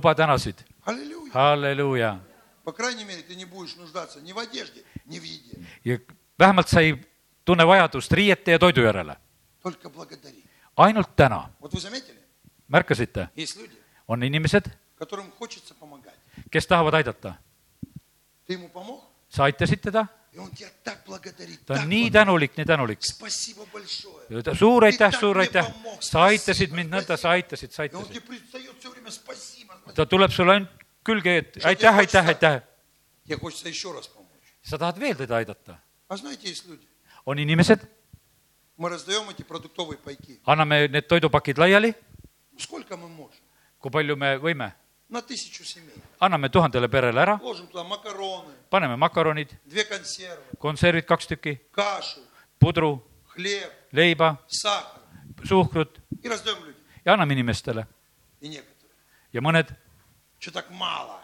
Speaker 2: juba tänasid ,
Speaker 1: Аллилуйя.
Speaker 2: halleluuja .
Speaker 1: По крайней мере, ты не будешь нуждаться ни в одежде, ни в еде.
Speaker 2: ja vähemalt sa ei tunne vajadust riiete ja toidu järele ,
Speaker 1: Только благодари.
Speaker 2: ainult täna ,
Speaker 1: Вот вы заметили,
Speaker 2: märkasite ,
Speaker 1: есть люди,
Speaker 2: on inimesed ,
Speaker 1: которым хочется помогать.
Speaker 2: kes tahavad aidata ,
Speaker 1: Ты ему помог,
Speaker 2: sa aitasid teda ,
Speaker 1: и он тебя так благодарит.
Speaker 2: ta
Speaker 1: так
Speaker 2: on nii
Speaker 1: благодарит.
Speaker 2: tänulik , nii tänulik .
Speaker 1: Спасибо большое.
Speaker 2: suur aitäh , suur aitäh , sa aitasid mind nõnda , sa aitasid , sa
Speaker 1: И он
Speaker 2: aitasid
Speaker 1: тебе . предстает все время спасибо. спасибо».
Speaker 2: ta tuleb sulle ainult külge , et aitäh , aitäh , aitäh .
Speaker 1: Тебе хочется еще раз помочь.
Speaker 2: sa tahad veel teda aidata ?
Speaker 1: А знаете, есть люди,
Speaker 2: on inimesed ,
Speaker 1: мы раздаем эти продуктовые пайки.
Speaker 2: anname need toidupakid laiali ,
Speaker 1: Ну, Сколько мы можем?
Speaker 2: kui palju me võime ,
Speaker 1: На тысячу семей.
Speaker 2: anname tuhandele perele ära ,
Speaker 1: Ложим туда макароны,
Speaker 2: paneme makaronid ,
Speaker 1: две консервы,
Speaker 2: konservid kaks tükki ,
Speaker 1: кашу,
Speaker 2: pudru ,
Speaker 1: хлеб,
Speaker 2: leiba ,
Speaker 1: сахар.
Speaker 2: suhkrut
Speaker 1: И раздаем людям.
Speaker 2: ja anname inimestele
Speaker 1: И некоторые.
Speaker 2: ja mõned ,
Speaker 1: Что так мало?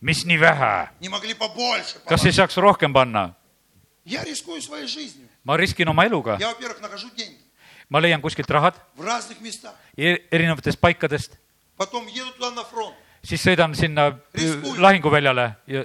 Speaker 2: mis nii vähe ,
Speaker 1: Не могли побольше.
Speaker 2: kas ei
Speaker 1: положить.
Speaker 2: saaks rohkem panna ?
Speaker 1: Я рискую своей жизнью.
Speaker 2: ma riskin oma eluga ,
Speaker 1: Я, во-первых, нахожу деньги
Speaker 2: ma leian kuskilt rahad
Speaker 1: в разных местах.
Speaker 2: e- erinevatest paikadest ,
Speaker 1: Потом еду туда на фронт.
Speaker 2: siis sõidan sinna
Speaker 1: Riskuid.
Speaker 2: lahinguväljale ja ,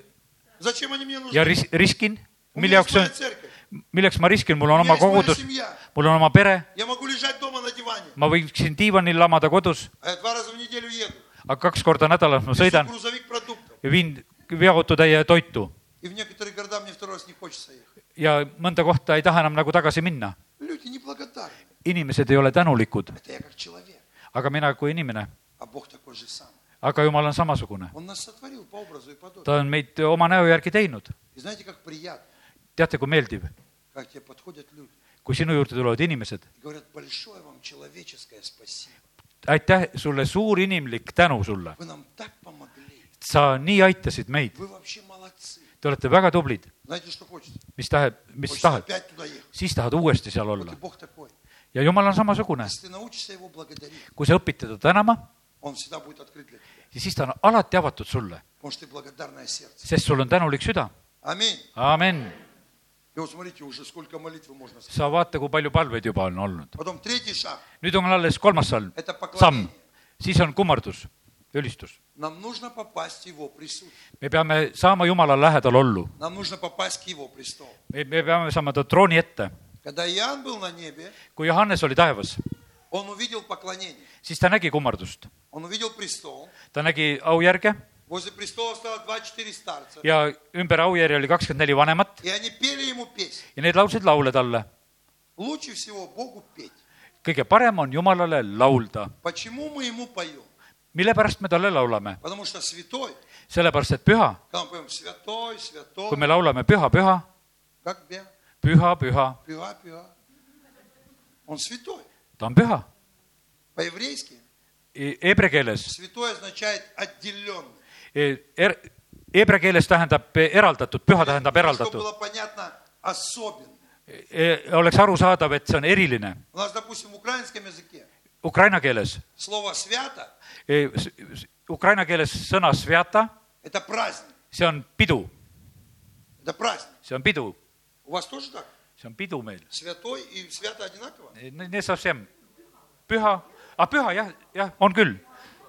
Speaker 1: Zачем они мне нужны?
Speaker 2: ja ris- , riskin ,
Speaker 1: У
Speaker 2: mille
Speaker 1: меня есть
Speaker 2: jaoks
Speaker 1: моя
Speaker 2: on ,
Speaker 1: церковь.
Speaker 2: milleks ma riskin , mul on
Speaker 1: У меня
Speaker 2: oma
Speaker 1: есть моя
Speaker 2: kogudus ,
Speaker 1: семья.
Speaker 2: mul on oma pere ,
Speaker 1: Я могу лежать дома на диване.
Speaker 2: ma võiksin diivanil lamada kodus ,
Speaker 1: А я два раза в неделю еду.
Speaker 2: aga kaks korda nädalas ma
Speaker 1: Везу
Speaker 2: sõidan
Speaker 1: грузовик продуктов.
Speaker 2: ja viin veoautotäie toitu
Speaker 1: И в некоторые города мне второй раз не хочется ехать.
Speaker 2: ja mõnda kohta ei taha enam nagu tagasi minna .
Speaker 1: Люди неблагодарны.
Speaker 2: inimesed ei ole tänulikud ,
Speaker 1: Это я как человек.
Speaker 2: aga mina kui inimene ,
Speaker 1: А Бог такой же сам.
Speaker 2: aga Jumal on samasugune ,
Speaker 1: Он нас сотворил по образу и подобию.
Speaker 2: ta on meid oma näo järgi teinud .
Speaker 1: И знаете, как приятно,
Speaker 2: teate , kui meeldiv ,
Speaker 1: как тебе подходят люди
Speaker 2: kui sinu juurde tulevad inimesed ,
Speaker 1: и говорят, большое вам человеческое спасибо.
Speaker 2: aitäh sulle , suur inimlik tänu sulle ,
Speaker 1: Вы нам так помогли.
Speaker 2: sa nii aitasid meid ,
Speaker 1: Вы вообще молодцы.
Speaker 2: te olete väga tublid ,
Speaker 1: Знаете, что хочется?
Speaker 2: mis tahab , mis
Speaker 1: Хочется
Speaker 2: tahad ,
Speaker 1: опять туда ехать.
Speaker 2: siis tahad uuesti seal
Speaker 1: Вот
Speaker 2: olla
Speaker 1: и Бог такой.
Speaker 2: ja Jumal on samasugune ,
Speaker 1: Если ты научишься его благодарить,
Speaker 2: kui sa õpid teda tänama
Speaker 1: он всегда будет открыт для тебя.
Speaker 2: ja siis ta on alati avatud sulle ,
Speaker 1: Потому что ты благодарное сердце.
Speaker 2: sest sul on tänulik süda ,
Speaker 1: Аминь.
Speaker 2: aamen .
Speaker 1: И вот смотрите, уже сколько молитвы можно сказать.
Speaker 2: sa vaata , kui palju palveid juba on olnud ,
Speaker 1: Потом третий шаг
Speaker 2: nüüd on alles kolmas salm
Speaker 1: – это поклонение.
Speaker 2: samm , siis on kummardus , ülistus .
Speaker 1: Нам нужно попасть в его присутствие.
Speaker 2: me peame saama Jumala lähedal ollu ,
Speaker 1: Нам нужно popасть к его престолу.
Speaker 2: me , me peame saama ta trooni ette .
Speaker 1: Когда Иоанн был на небе,
Speaker 2: kui Johannes oli taevas ,
Speaker 1: он увидел поклонение.
Speaker 2: siis ta nägi kummardust ,
Speaker 1: Он увидел престол.
Speaker 2: ta nägi aujärge
Speaker 1: Возле престола стало 24 старца.
Speaker 2: ja ümber aujärje oli kakskümmend neli vanemat
Speaker 1: И они пели ему песнь.
Speaker 2: ja need laulsid laule talle .
Speaker 1: Лучше всего Богу петь.
Speaker 2: kõige parem on Jumalale laulda ,
Speaker 1: Почему мы ему поем?
Speaker 2: mille pärast me talle laulame ,
Speaker 1: Потому что святой,
Speaker 2: sellepärast et püha ,
Speaker 1: когда мы поем святой, святой,
Speaker 2: kui me laulame püha , püha ,
Speaker 1: как бя,
Speaker 2: püha , püha ,
Speaker 1: пива, пива. Он святой.
Speaker 2: ta on püha .
Speaker 1: По-еврейски
Speaker 2: Hebre keeles
Speaker 1: святой означает отделенный.
Speaker 2: e- er, Hebra keeles tähendab eraldatud , püha tähendab
Speaker 1: Чтобы
Speaker 2: eraldatud .
Speaker 1: было понятно особенно.
Speaker 2: oleks arusaadav , et see on eriline
Speaker 1: У нас, допустим, в украинском языке
Speaker 2: ukraina keeles .
Speaker 1: слово «свято»
Speaker 2: Ukraina keeles sõna svjata ,
Speaker 1: – это праздник.
Speaker 2: see on pidu ,
Speaker 1: Это праздник.
Speaker 2: see on pidu ,
Speaker 1: У вас тоже так?
Speaker 2: see on pidu meil . E,
Speaker 1: Святой и свято одинаково?
Speaker 2: püha , ah püha jah , jah , on küll .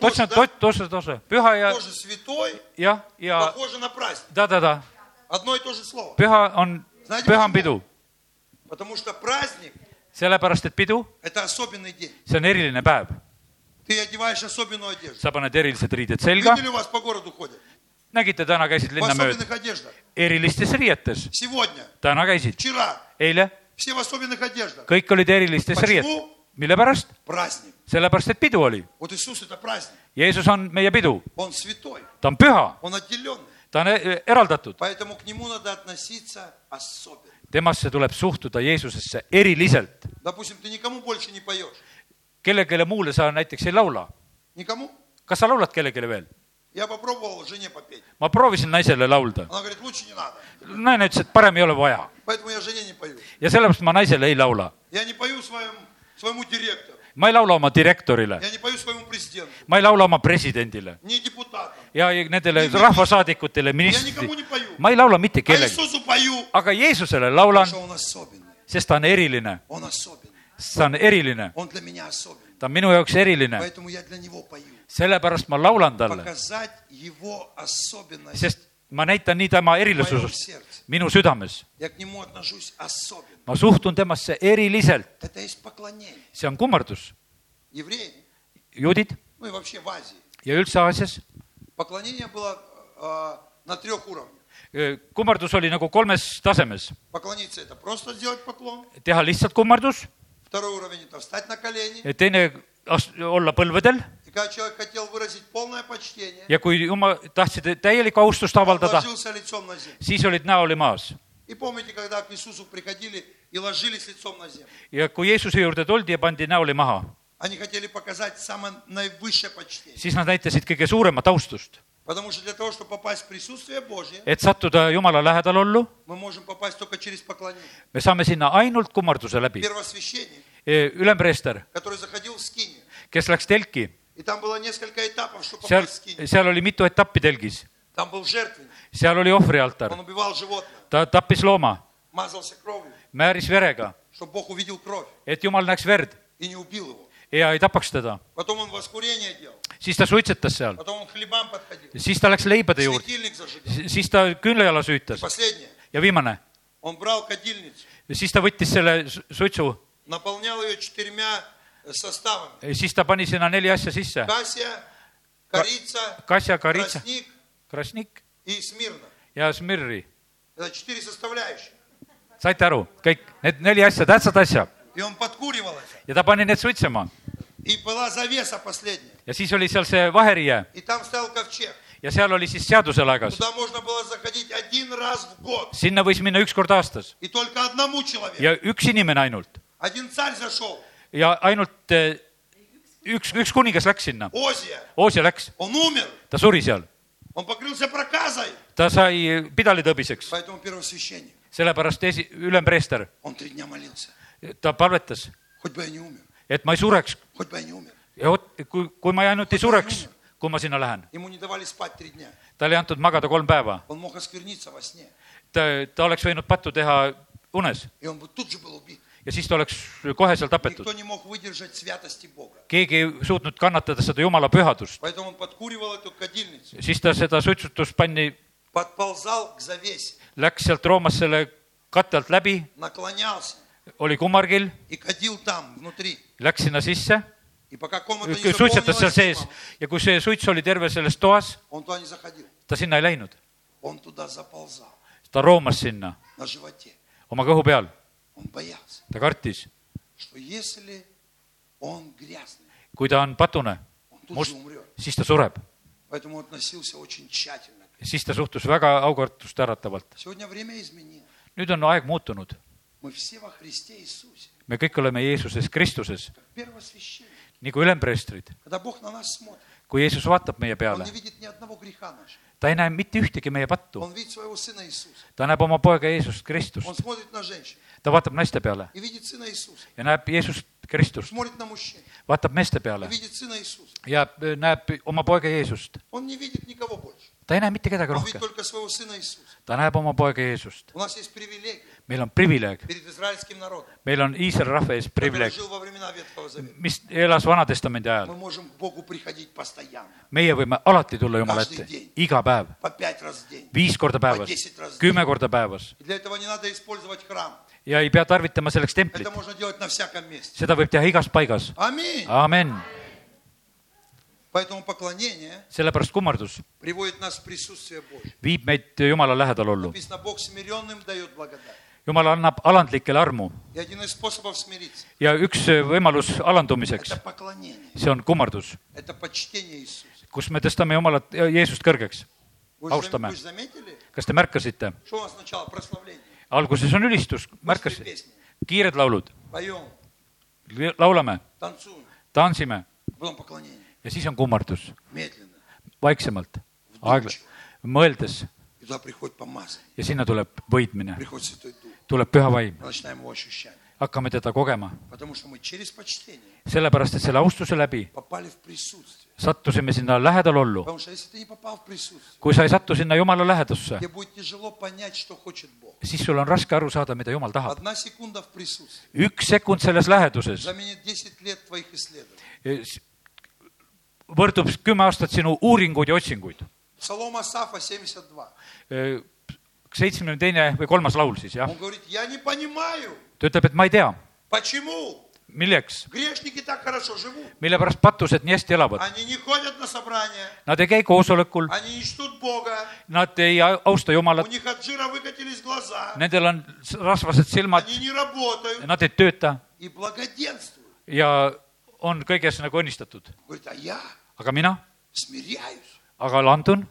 Speaker 2: totsna ,
Speaker 1: Tootsa-
Speaker 2: tot- , totsna , totsna , püha ja ,
Speaker 1: Тоже святой,
Speaker 2: jah , ja
Speaker 1: похоже на праздник.
Speaker 2: ta-ta-ta ,
Speaker 1: Одно и то же слово.
Speaker 2: püha on ,
Speaker 1: Знаете
Speaker 2: püha on
Speaker 1: почему?
Speaker 2: pidu ,
Speaker 1: Потому что праздник
Speaker 2: sellepärast et pidu ,
Speaker 1: – это особенный день.
Speaker 2: see on eriline päev ,
Speaker 1: Ты одеваешь особенную одежду.
Speaker 2: sa paned erilised riided selga ,
Speaker 1: Видели, у вас по городу ходят?
Speaker 2: nägite , täna käisid
Speaker 1: В
Speaker 2: linna mööda
Speaker 1: особенных одеждах.
Speaker 2: erilistes riietes ,
Speaker 1: Сегодня,
Speaker 2: täna käisid ,
Speaker 1: вчера,
Speaker 2: eile
Speaker 1: все в особенных одеждах.
Speaker 2: kõik olid erilistes riiet-
Speaker 1: Почему? ,
Speaker 2: mille pärast ?
Speaker 1: Праздник.
Speaker 2: sellepärast , et pidu oli .
Speaker 1: Вот Иисус – это праздник.
Speaker 2: Jeesus on meie pidu ,
Speaker 1: Он святой,
Speaker 2: ta on püha ,
Speaker 1: он отделенный.
Speaker 2: ta on e- eraldatud ,
Speaker 1: Поэтому к нему надо относиться особенно.
Speaker 2: temasse tuleb suhtuda Jeesusesse eriliselt .
Speaker 1: Допустим, ты никому больше не поешь.
Speaker 2: kellelegi muule sa näiteks ei laula ,
Speaker 1: Никому?
Speaker 2: kas sa laulad kellelegi veel ?
Speaker 1: Я попробовал жене попеть.
Speaker 2: ma proovisin naisele laulda ,
Speaker 1: Она говорит, лучше не надо.
Speaker 2: naine ütles , et parem ei ole vaja
Speaker 1: Поэтому я жене не пою.
Speaker 2: ja sellepärast ma naisele ei laula .
Speaker 1: Я не пою своем, своему директору.
Speaker 2: ma ei laula oma direktorile ,
Speaker 1: Я не пою своему президенту.
Speaker 2: ma ei laula oma presidendile
Speaker 1: Не депутатам.
Speaker 2: ja ei- nendele rahvasaadikutele , ministritele , ma ei laula mitte
Speaker 1: А
Speaker 2: kellelegi ,
Speaker 1: Иисусу пою,
Speaker 2: aga Jeesusele laulan
Speaker 1: потому , что он особенный.
Speaker 2: sest ta on eriline ,
Speaker 1: Он особенный.
Speaker 2: sest ta on eriline
Speaker 1: Он для меня особенный.
Speaker 2: ta on minu jaoks eriline ,
Speaker 1: Поэтому я для него пою.
Speaker 2: sellepärast ma laulan talle ,
Speaker 1: Показать его особенность
Speaker 2: sest ma näitan nii tema
Speaker 1: в моем
Speaker 2: erilisusust
Speaker 1: сердце.
Speaker 2: minu südames .
Speaker 1: Я к нему отношусь особенно.
Speaker 2: ma suhtun temasse eriliselt ,
Speaker 1: Это есть поклонение.
Speaker 2: see on kummardus .
Speaker 1: Евреи,
Speaker 2: juudid
Speaker 1: ну и вообще в Азии,
Speaker 2: ja üldse Aasias ,
Speaker 1: поклонение было э, на трех уровнях.
Speaker 2: kummardus oli nagu kolmes tasemes .
Speaker 1: Поклониться это просто сделать поклон.
Speaker 2: teha lihtsalt kummardus ,
Speaker 1: Второй уровень это встать на колени.
Speaker 2: teine as- olla põlvedel
Speaker 1: И когда человек хотел выразить полное почтение,
Speaker 2: ja kui jumal , tahtsid täielikku austust
Speaker 1: он
Speaker 2: avaldada ,
Speaker 1: ложился лицом на землю.
Speaker 2: siis olid näo oli maas .
Speaker 1: И помните, когда к Иисусу приходили и ложились лицом на землю.
Speaker 2: ja kui Jeesuse juurde tuldi ja pandi näo oli maha ,
Speaker 1: Они хотели показать самое наивысшее почтение.
Speaker 2: siis nad näitasid kõige suuremat austust ,
Speaker 1: Потому что для того, чтобы попасть в присутствие Божье,
Speaker 2: et sattuda Jumala lähedalollu
Speaker 1: мы можем попасть только через поклонение.
Speaker 2: me saame sinna ainult kummarduse läbi .
Speaker 1: Первосвященник,
Speaker 2: ülempreester ,
Speaker 1: который заходил в скинию,
Speaker 2: kes läks telki ,
Speaker 1: и там было несколько этапов, чтобы
Speaker 2: seal ,
Speaker 1: попасть в скинию.
Speaker 2: seal oli mitu etappi telgis ,
Speaker 1: Там был жертвенник,
Speaker 2: seal oli ohvrialtar
Speaker 1: он , убивал животное,
Speaker 2: ta tappis looma ,
Speaker 1: мазался кровью,
Speaker 2: määris verega ,
Speaker 1: чтобы Бог увидел кровь
Speaker 2: et jumal näeks verd
Speaker 1: и не убил его.
Speaker 2: ja ei tapaks teda .
Speaker 1: Потом он воскурение делал,
Speaker 2: siis ta suitsetas seal ,
Speaker 1: потом он к хлебам подходил,
Speaker 2: siis ta läks leibade juurde ,
Speaker 1: светильник зажигал.
Speaker 2: siis ta küünlajala süütas
Speaker 1: Последнее,
Speaker 2: ja viimane ,
Speaker 1: он брал кадильницу,
Speaker 2: siis ta võttis selle su- suitsu ,
Speaker 1: наполнял ее четырьмя э, составами.
Speaker 2: siis ta pani sinna neli asja sisse ,
Speaker 1: Кассия, корица,
Speaker 2: kasja , karitsa ,
Speaker 1: тростник
Speaker 2: krasnik
Speaker 1: и смирна.
Speaker 2: ja smirri .
Speaker 1: Это четыре составляющие.
Speaker 2: saite aru , kõik need neli asja , tähtsad asja
Speaker 1: И он подкуривал это.
Speaker 2: ja ta pani need suitsema
Speaker 1: И была завеса последняя.
Speaker 2: ja siis oli seal see vaheriie
Speaker 1: И там стоял ковчег.
Speaker 2: ja seal oli siis seaduselaegas .
Speaker 1: Туда можно было заходить один раз в год.
Speaker 2: sinna võis minna üks kord aastas
Speaker 1: И только одному человеку.
Speaker 2: ja üks inimene ainult
Speaker 1: Один царь зашел,
Speaker 2: ja ainult eh, üks , üks kuningas läks sinna ,
Speaker 1: Озия.
Speaker 2: Oosia läks ,
Speaker 1: Он умер.
Speaker 2: ta suri seal ,
Speaker 1: Он покрылся проказой.
Speaker 2: ta sai pidalitõbiseks ,
Speaker 1: Поэтому первосвященник,
Speaker 2: sellepärast esi , ülempreester ,
Speaker 1: он три дня молился.
Speaker 2: ta palvetas ,
Speaker 1: Хоть бы я не умер.
Speaker 2: et ma ei sureks
Speaker 1: Хоть бы я не умер.
Speaker 2: ja vot , kui , kui ma ainult ei sureks , kui ma sinna lähen ,
Speaker 1: Ему не давали спать три дня.
Speaker 2: talle ei antud magada kolm päeva ,
Speaker 1: Он мог оскверниться во сне.
Speaker 2: ta , ta oleks võinud pattu teha unes
Speaker 1: И он бы тут же был убит.
Speaker 2: ja siis ta oleks kohe seal tapetud
Speaker 1: Никто . не мог выдержать святости Бога.
Speaker 2: keegi ei suutnud kannatada seda jumala pühadust ,
Speaker 1: Поэтому он подкуривал эту кадильницу,
Speaker 2: siis ta seda suitsutuspanni
Speaker 1: подползал к завесе,
Speaker 2: läks sealt Roomast selle katte alt läbi ,
Speaker 1: наклонялся
Speaker 2: oli kumargil ,
Speaker 1: и кадил там, внутри.
Speaker 2: läks sinna sisse ,
Speaker 1: И пока комната не
Speaker 2: suitsetas seal
Speaker 1: заполнилась
Speaker 2: sees
Speaker 1: дымом,
Speaker 2: ja kui see suits oli terve selles toas ,
Speaker 1: он туда не заходил.
Speaker 2: ta sinna ei läinud .
Speaker 1: Он туда заползал
Speaker 2: ta roomas sinna
Speaker 1: на животе.
Speaker 2: oma kõhu peal ,
Speaker 1: Он боялся,
Speaker 2: ta kartis ,
Speaker 1: что если он грязный,
Speaker 2: kui ta on patune ,
Speaker 1: он тут
Speaker 2: Может-
Speaker 1: же умрет.
Speaker 2: siis ta sureb .
Speaker 1: Поэтому он относился очень тщательно.
Speaker 2: siis ta suhtus väga aukartust äratavalt .
Speaker 1: Сегодня время изменило.
Speaker 2: nüüd on aeg muutunud ,
Speaker 1: Мы все во Христе Иисусе,
Speaker 2: me kõik oleme Jeesuses Kristuses
Speaker 1: как первосвященник.
Speaker 2: nagu ülempreestrid .
Speaker 1: Когда Бог на нас смотрит,
Speaker 2: kui Jeesus vaatab meie
Speaker 1: Он
Speaker 2: peale
Speaker 1: не , видит ни одного греха нашего.
Speaker 2: ta ei näe mitte ühtegi meie pattu ,
Speaker 1: Он видит своего Сына Иисуса.
Speaker 2: ta näeb oma poega Jeesust
Speaker 1: Он
Speaker 2: Kristust ,
Speaker 1: смотрит на женщин
Speaker 2: ta vaatab naiste peale
Speaker 1: и видит Сына Иисуса.
Speaker 2: ja näeb Jeesust Kristust ,
Speaker 1: Смотрит на мужчин
Speaker 2: vaatab meeste
Speaker 1: и
Speaker 2: peale
Speaker 1: видит Сына Иисуса.
Speaker 2: ja äh, näeb oma poega Jeesust .
Speaker 1: Он не видит никого больше.
Speaker 2: ta ei näe mitte kedagi
Speaker 1: Он видит
Speaker 2: rohkem ,
Speaker 1: только своего Сына Иисуса.
Speaker 2: ta näeb oma poega Jeesust .
Speaker 1: У нас есть привилегия
Speaker 2: meil on privileeg ,
Speaker 1: перед израильским народом,
Speaker 2: meil on Iisraeli rahva ees
Speaker 1: который
Speaker 2: privileeg ,
Speaker 1: жил во времена Ветхого Завета.
Speaker 2: mis elas Vana-testamendi ajal
Speaker 1: Мы . можем к Богу приходить постоянно,
Speaker 2: meie võime alati tulla Jumala ette , iga päev ,
Speaker 1: по пять раз в день.
Speaker 2: viis korda päevas , kümme korda päevas
Speaker 1: И для этого не надо использовать храм.
Speaker 2: ja ei pea tarvitama selleks templit
Speaker 1: Это , можно делать на всяком месте.
Speaker 2: seda võib teha igas paigas .
Speaker 1: Аминь.
Speaker 2: amen ,
Speaker 1: Поэтому поклонение
Speaker 2: sellepärast kummardus
Speaker 1: приводит нас в присутствие Божье.
Speaker 2: viib meid Jumala lähedalollu .
Speaker 1: Написано, Бог смиренным дает благодать.
Speaker 2: Jumal annab alandlikele armu
Speaker 1: И один из способов смириться –
Speaker 2: ja üks võimalus alandumiseks
Speaker 1: это , поклонение,
Speaker 2: see on kummardus ,
Speaker 1: это почтение Иисуsa.
Speaker 2: kus me tõstame Jumalat , Jeesust kõrgeks .
Speaker 1: Вы же,
Speaker 2: Аустаме.
Speaker 1: зам- вы же заметили,
Speaker 2: kas te märkasite ?
Speaker 1: что у нас сначала прославление,
Speaker 2: alguses on ülistus ,
Speaker 1: после
Speaker 2: märkasite ?
Speaker 1: песни,
Speaker 2: kiired laulud ,
Speaker 1: поем,
Speaker 2: laulame ,
Speaker 1: танцуем,
Speaker 2: tantsime
Speaker 1: потом поклонение,
Speaker 2: ja siis on kummardus ,
Speaker 1: медленно.
Speaker 2: vaiksemalt , aeglaselt , mõeldes
Speaker 1: И туда приходит помазание,
Speaker 2: ja sinna tuleb võitmine ,
Speaker 1: приходит Святой Дух.
Speaker 2: tuleb püha vaim ,
Speaker 1: Мы начинаем его ощущать,
Speaker 2: hakkame teda kogema ,
Speaker 1: потому что мы через почтение
Speaker 2: sellepärast et selle austuse läbi
Speaker 1: попали в присутствие.
Speaker 2: sattusime sinna lähedalollu .
Speaker 1: Потому что если ты не попал в присутствие,
Speaker 2: kui sa ei satu sinna Jumala lähedusse ,
Speaker 1: тебе будет tяжело понять, что хочет Бог.
Speaker 2: siis sul on raske aru saada , mida Jumal tahab .
Speaker 1: Одна секунда в присутствии
Speaker 2: üks sekund selles läheduses
Speaker 1: заменит 10 лет твоих исследований.
Speaker 2: eh, s- võrdub kümme aastat sinu uuringuid ja otsinguid .
Speaker 1: Псалом Асафа 72.
Speaker 2: seitsmekümne teine või kolmas laul siis jah ,
Speaker 1: Он говорит, я не понимаю,
Speaker 2: ta ütleb , et ma ei tea ,
Speaker 1: почему
Speaker 2: milleks ,
Speaker 1: грешники так хорошо живут.
Speaker 2: mille pärast patused nii hästi elavad .
Speaker 1: Они не ходят на собрания,
Speaker 2: Nad ei käi koosolekul ,
Speaker 1: они не чтут Бога,
Speaker 2: nad ei au- austa
Speaker 1: у
Speaker 2: Jumalat ,
Speaker 1: них от жира выкатились глаза,
Speaker 2: nendel on s- rasvased silmad ,
Speaker 1: они не работают
Speaker 2: nad ei tööta
Speaker 1: и благоденствуют.
Speaker 2: ja on kõiges nagu õnnistatud .
Speaker 1: Говорит, а я
Speaker 2: aga mina ,
Speaker 1: смиряюсь,
Speaker 2: aga landun ,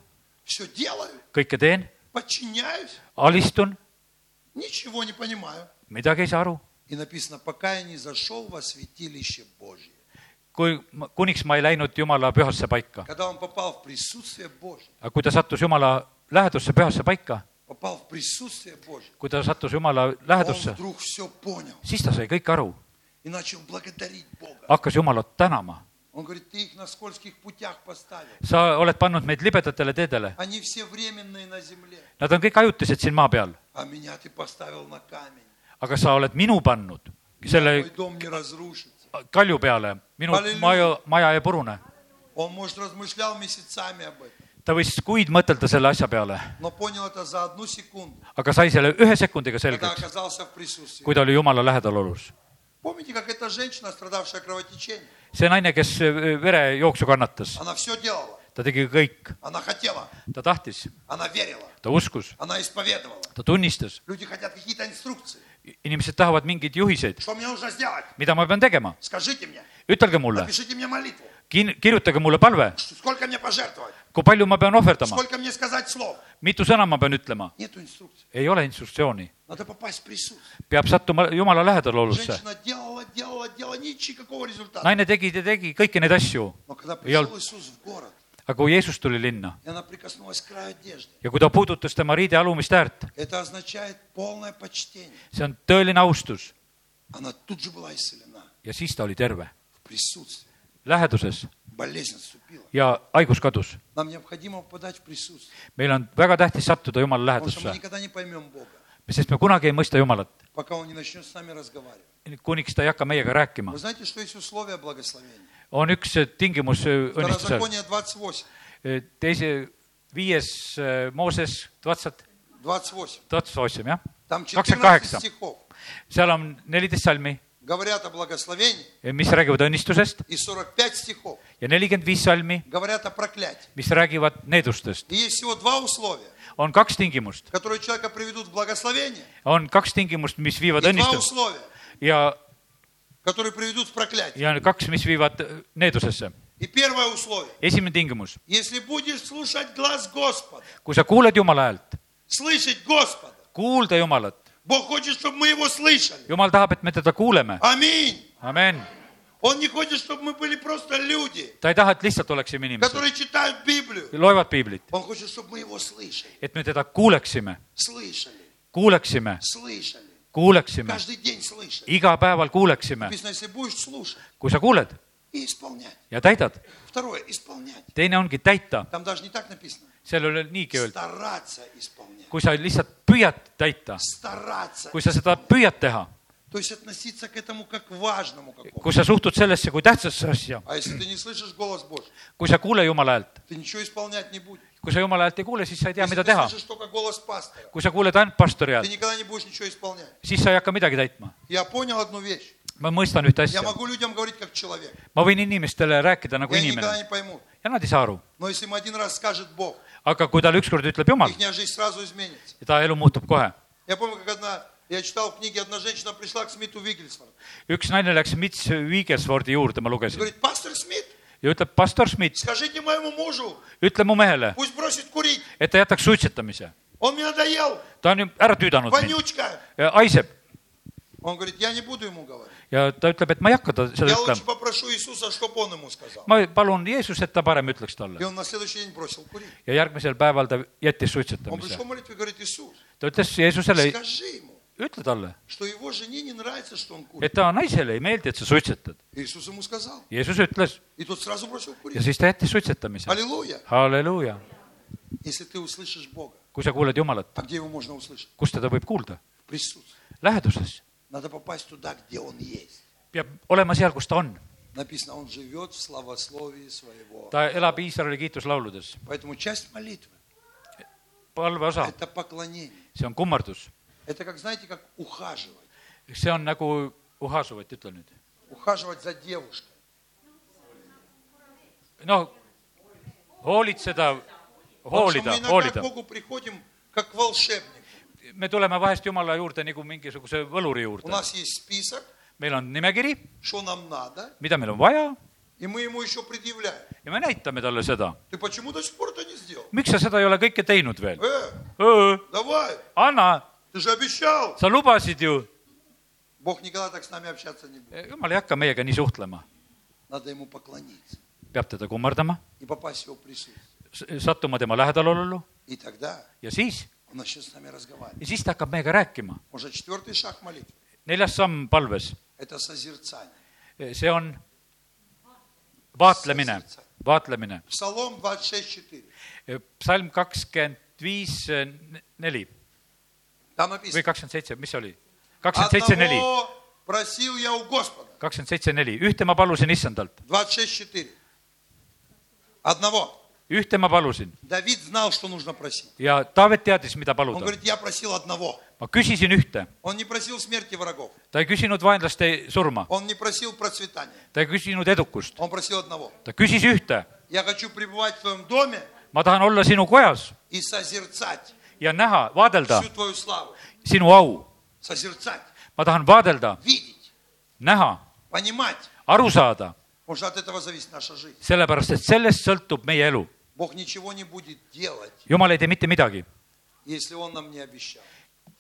Speaker 1: все делаю,
Speaker 2: kõike teen ,
Speaker 1: подчиняюсь,
Speaker 2: alistun ,
Speaker 1: ничего не понимаю.
Speaker 2: midagi ei saa aru .
Speaker 1: И написано, пока я не зашел во святилище Божье.
Speaker 2: kui , kuniks ma ei läinud Jumala pühasse paika .
Speaker 1: Когда он попал в присутствие Божье,
Speaker 2: aga kui ta sattus Jumala lähedusse , pühasse paika ,
Speaker 1: попал в присутствие Божье,
Speaker 2: kui ta sattus Jumala
Speaker 1: он
Speaker 2: lähedusse ,
Speaker 1: вдруг все понял
Speaker 2: siis ta sai kõik aru ,
Speaker 1: и начал благодарить Бога.
Speaker 2: hakkas Jumalat tänama .
Speaker 1: Он говорит, ты их на скользких путях поставил.
Speaker 2: sa oled pannud meid libedatele teedele ,
Speaker 1: Они все временные на земле,
Speaker 2: nad on kõik ajutised siin maa peal ,
Speaker 1: а меня ты поставил на камень.
Speaker 2: aga sa oled minu pannud selle
Speaker 1: Мой дом не разрушится.
Speaker 2: kalju peale , minu maja , maja ei purune .
Speaker 1: Он, может, размышлял месяцами об этом,
Speaker 2: ta võis kuid mõtelda selle asja peale ,
Speaker 1: но понял это за одну секунду,
Speaker 2: aga sai selle ühe sekundiga
Speaker 1: когда
Speaker 2: selgeks ,
Speaker 1: оказался в присутствии.
Speaker 2: kui ta oli Jumala lähedalolus .
Speaker 1: Помните, как эта женщина, страдавшая кровотечением,
Speaker 2: see naine , kes verejooksu kannatas ,
Speaker 1: она все делала,
Speaker 2: ta tegi kõik ,
Speaker 1: она хотела,
Speaker 2: ta tahtis ,
Speaker 1: она верила,
Speaker 2: ta uskus ,
Speaker 1: она исповедовала.
Speaker 2: ta tunnistas ,
Speaker 1: Люди хотят какие-то инструкции.
Speaker 2: inimesed tahavad mingeid juhiseid ,
Speaker 1: Что мне нужно сделать?
Speaker 2: mida ma pean tegema ,
Speaker 1: Скажите мне,
Speaker 2: ütelge mulle ,
Speaker 1: напишите мне молитву.
Speaker 2: kin- , kirjutage mulle palve ,
Speaker 1: Сколько мне пожертвовать?
Speaker 2: kui palju ma pean ohverdama ,
Speaker 1: Сколько мне сказать слов?
Speaker 2: mitu sõna ma pean ütlema ,
Speaker 1: Нет инструкции.
Speaker 2: ei ole instruktsiooni ,
Speaker 1: Надо попасть в присутствие.
Speaker 2: peab sattuma Jumala lähedalolusse .
Speaker 1: Женщина делала, делала, делала, никакого результата.
Speaker 2: naine tegi , ta tegi kõiki neid asju ,
Speaker 1: Но когда
Speaker 2: Ei
Speaker 1: пришел
Speaker 2: olnud.
Speaker 1: Иисус в город,
Speaker 2: aga kui Jeesus tuli linna
Speaker 1: и она прикоснулась к краю одежды,
Speaker 2: ja kui ta puudutas tema riide alumist äärt ,
Speaker 1: это означает полное почтение.
Speaker 2: see on tõeline austus
Speaker 1: Она тут же была исцелена
Speaker 2: ja siis ta oli terve ,
Speaker 1: в присутствии.
Speaker 2: läheduses
Speaker 1: Болезнь отступила.
Speaker 2: ja haigus kadus .
Speaker 1: Нам необходимо попадать в присутствие.
Speaker 2: meil on väga tähtis sattuda Jumala
Speaker 1: Потому что мы
Speaker 2: lähedusse ,
Speaker 1: никогда не поймем Бога,
Speaker 2: sest me kunagi ei mõista Jumalat ,
Speaker 1: пока Он не начнет с нами разговаривать.
Speaker 2: kuniks ta ei hakka meiega rääkima
Speaker 1: Вы . знаете, что есть условия благословения?
Speaker 2: on üks äh, tingimus õnnistusel ,
Speaker 1: Второзаконие 28.
Speaker 2: teise , viies öö, Mooses tuhatsat ,
Speaker 1: 28.
Speaker 2: tuhatsat ossim , jah .
Speaker 1: Там
Speaker 2: kakskümmend kaheksa
Speaker 1: 14 , стихов
Speaker 2: seal on neliteist salmi ,
Speaker 1: говорят о благословении,
Speaker 2: mis räägivad õnnistusest
Speaker 1: и 45 стихов
Speaker 2: ja nelikümmend viis salmi ,
Speaker 1: говорят о проклятии.
Speaker 2: mis räägivad needustest .
Speaker 1: И есть всего два условия,
Speaker 2: on kaks tingimust ,
Speaker 1: которые человека приведут в благословение,
Speaker 2: on kaks tingimust , mis viivad
Speaker 1: и два
Speaker 2: õnnistust
Speaker 1: условия,
Speaker 2: ja ,
Speaker 1: которые приведут в проклятие.
Speaker 2: ja kaks , mis viivad äh, needusesse .
Speaker 1: И первое условие.
Speaker 2: esimene tingimus ,
Speaker 1: Если будешь слушать глаз Господа,
Speaker 2: kui sa kuuled Jumala häält ,
Speaker 1: слышать Господа,
Speaker 2: kuulda Jumalat ,
Speaker 1: Бог хочет, чтобы мы его слышали.
Speaker 2: Jumal tahab , et me teda kuuleme ,
Speaker 1: Аминь.
Speaker 2: amen .
Speaker 1: Он не хочет, чтобы мы были просто люди,
Speaker 2: ta ei taha , et lihtsalt oleksime inimesed ,
Speaker 1: которые читают Библию.
Speaker 2: loevad piiblit ,
Speaker 1: Он хочет, чтобы мы его слышали,
Speaker 2: et me teda kuuleksime ,
Speaker 1: слышали,
Speaker 2: kuuleksime ,
Speaker 1: слышали.
Speaker 2: kuuleksime ,
Speaker 1: Каждый день слышали.
Speaker 2: iga päeval kuuleksime ,
Speaker 1: Написано, если будешь слушать
Speaker 2: kui sa kuuled
Speaker 1: и исполнять.
Speaker 2: ja täidad .
Speaker 1: Второе, исполнять.
Speaker 2: teine ongi täita ,
Speaker 1: Там даже не так написано.
Speaker 2: seal ei ole niigi öeldud ,
Speaker 1: Стараться исполнять.
Speaker 2: kui sa lihtsalt püüad täita ,
Speaker 1: Стараться.
Speaker 2: kui sa seda püüad teha ,
Speaker 1: То есть относиться к этому как к важному какому.
Speaker 2: kui sa suhtud sellesse kui tähtsasse asja ,
Speaker 1: А если ты не слышишь голос Божий,
Speaker 2: kui sa ei kuule Jumala häält ,
Speaker 1: ты ничего исполнять не будешь.
Speaker 2: kui sa Jumala häält ei kuule , siis sa ei tea ,
Speaker 1: Если
Speaker 2: mida
Speaker 1: ты
Speaker 2: teha .
Speaker 1: слышишь только голос пастора,
Speaker 2: kui sa kuuled ainult pastori
Speaker 1: ты
Speaker 2: häält ,
Speaker 1: никогда не будешь ничего исполнять.
Speaker 2: siis sa ei hakka midagi täitma .
Speaker 1: Я понял одну вещь.
Speaker 2: ma mõistan ühte asja ,
Speaker 1: Я могу людям говорить как человек.
Speaker 2: ma võin inimestele rääkida nagu
Speaker 1: И они никогда
Speaker 2: inimene
Speaker 1: не поймут.
Speaker 2: ja nad ei saa aru ,
Speaker 1: Но если им один раз скажет Бог,
Speaker 2: aga kui talle ükskord ütleb Jumal ,
Speaker 1: их жизнь сразу изменится.
Speaker 2: ta elu muutub kohe .
Speaker 1: Я помню, как одна, я читал книги, одна женщина пришла к Смиту Вигельсфорду.
Speaker 2: üks naine läks Mits Viigesfordi juurde , ma
Speaker 1: И
Speaker 2: lugesin ,
Speaker 1: говорит, пастор Смит,
Speaker 2: ja ütleb , pastor Schmidt ,
Speaker 1: скажите моему мужу,
Speaker 2: ütle mu mehele ,
Speaker 1: пусть бросит курить.
Speaker 2: et ta jätaks suitsetamise .
Speaker 1: Он мне надоел,
Speaker 2: ta on ju ära tüüdanud mind ,
Speaker 1: вонючка.
Speaker 2: haiseb
Speaker 1: Он говорит, я не буду ему говорить.
Speaker 2: ja ta ütleb , et ma ei hakka ta seda
Speaker 1: Я лучше
Speaker 2: ütlema .
Speaker 1: попрошу Иисуса, чтобы он ему сказал.
Speaker 2: ma palun Jeesus , et ta parem ütleks
Speaker 1: И
Speaker 2: talle .
Speaker 1: он на следующий день бросил курить.
Speaker 2: ja järgmisel päeval ta jättis
Speaker 1: Он
Speaker 2: suitsetamise
Speaker 1: пришел в молитве и говорит, Иисус,
Speaker 2: ta ütles Jeesusele ,
Speaker 1: скажи ему,
Speaker 2: ütle talle ,
Speaker 1: что его жене не нравится, что он курит.
Speaker 2: et ta naisele ei meeldi , et sa suitsetad .
Speaker 1: Иисус ему сказал.
Speaker 2: Jeesus ütles
Speaker 1: И тот сразу бросил
Speaker 2: ja
Speaker 1: курить.
Speaker 2: siis ta jättis suitsetamise .
Speaker 1: Аллилуйя.
Speaker 2: halleluuja ,
Speaker 1: Если ты услышишь Бога,
Speaker 2: kui sa kuuled Jumalat ,
Speaker 1: а где его можно услышать?
Speaker 2: kus teda võib kuulda ?
Speaker 1: В присутствии.
Speaker 2: läheduses ,
Speaker 1: Надо попасть туда, где он есть.
Speaker 2: peab olema seal , kus ta on .
Speaker 1: Написано, он живет в славословии своего.
Speaker 2: ta elab Iisraeli kiituslauludes ,
Speaker 1: Поэтому часть молитвы –
Speaker 2: palveosa ,
Speaker 1: это поклонение.
Speaker 2: see on kummardus ,
Speaker 1: Это как, знаете, как ухаживать.
Speaker 2: see on nagu uhasuvõtt , ütle nüüd .
Speaker 1: Ухаживать за девушкой.
Speaker 2: no hoolitseda ,
Speaker 1: Потому что мы
Speaker 2: hoolida ,
Speaker 1: иногда к
Speaker 2: hoolida .
Speaker 1: Богу приходим, как к волшебнику.
Speaker 2: me tuleme vahest Jumala juurde nagu mingisuguse võluri
Speaker 1: У
Speaker 2: juurde .
Speaker 1: нас есть список,
Speaker 2: meil on nimekiri ,
Speaker 1: что нам надо,
Speaker 2: mida meil on vaja
Speaker 1: и мы ему еще предъявляем.
Speaker 2: ja me näitame talle seda
Speaker 1: Ты почему до сих пор это не сделал?
Speaker 2: miks sa seda ei ole kõike teinud veel ?
Speaker 1: Э, давай,
Speaker 2: anna ,
Speaker 1: ты же обещал.
Speaker 2: sa lubasid ju .
Speaker 1: Бог никогда так с нами общаться не будет.
Speaker 2: jumal ei hakka meiega nii suhtlema ,
Speaker 1: Надо ему поклониться
Speaker 2: peab teda kummardama ,
Speaker 1: и попасть в его присутствие.
Speaker 2: sattuma tema lähedalollu
Speaker 1: И тогда
Speaker 2: ja siis ,
Speaker 1: он начнет с нами разговаривать.
Speaker 2: ja siis ta hakkab meiega rääkima .
Speaker 1: Уже четвертый шаг молитвы
Speaker 2: neljas samm palves ,
Speaker 1: – это созерцание.
Speaker 2: Eh, see on vaatlemine , vaatlemine .
Speaker 1: Псалом 26.4.
Speaker 2: psalm kakskümmend viis , neli
Speaker 1: Там
Speaker 2: või
Speaker 1: написано,
Speaker 2: kakskümmend seitse , mis see oli ? kakskümmend seitse , neli ,
Speaker 1: одного просил я у Господа.
Speaker 2: kakskümmend seitse , neli , ühte ma palusin issandalt ,
Speaker 1: 26.4. Одного.
Speaker 2: ühte ma palusin
Speaker 1: Давид знал, что нужно просить.
Speaker 2: ja Taavet teadis , mida
Speaker 1: Он
Speaker 2: paluda .
Speaker 1: говорит, я просил одного.
Speaker 2: ma küsisin ühte
Speaker 1: Он не просил смерти врагов.
Speaker 2: ta ei küsinud vaenlaste surma ,
Speaker 1: Он не просил процветания.
Speaker 2: ta ei küsinud edukust ,
Speaker 1: Он просил одного.
Speaker 2: ta küsis ühte .
Speaker 1: Я хочу пребывать в твоем доме
Speaker 2: ma tahan olla sinu kojas
Speaker 1: и созерцать
Speaker 2: ja näha , vaadelda
Speaker 1: всю твою славу.
Speaker 2: sinu au ,
Speaker 1: Созерцать,
Speaker 2: ma tahan vaadelda ,
Speaker 1: видеть,
Speaker 2: näha ,
Speaker 1: понимать.
Speaker 2: aru saada ,
Speaker 1: Потому что от этого зависит наша жизнь.
Speaker 2: sellepärast et sellest sõltub meie elu .
Speaker 1: Бог ничего не будет делать,
Speaker 2: jumal ei tee mitte midagi ,
Speaker 1: если Он нам не обещал.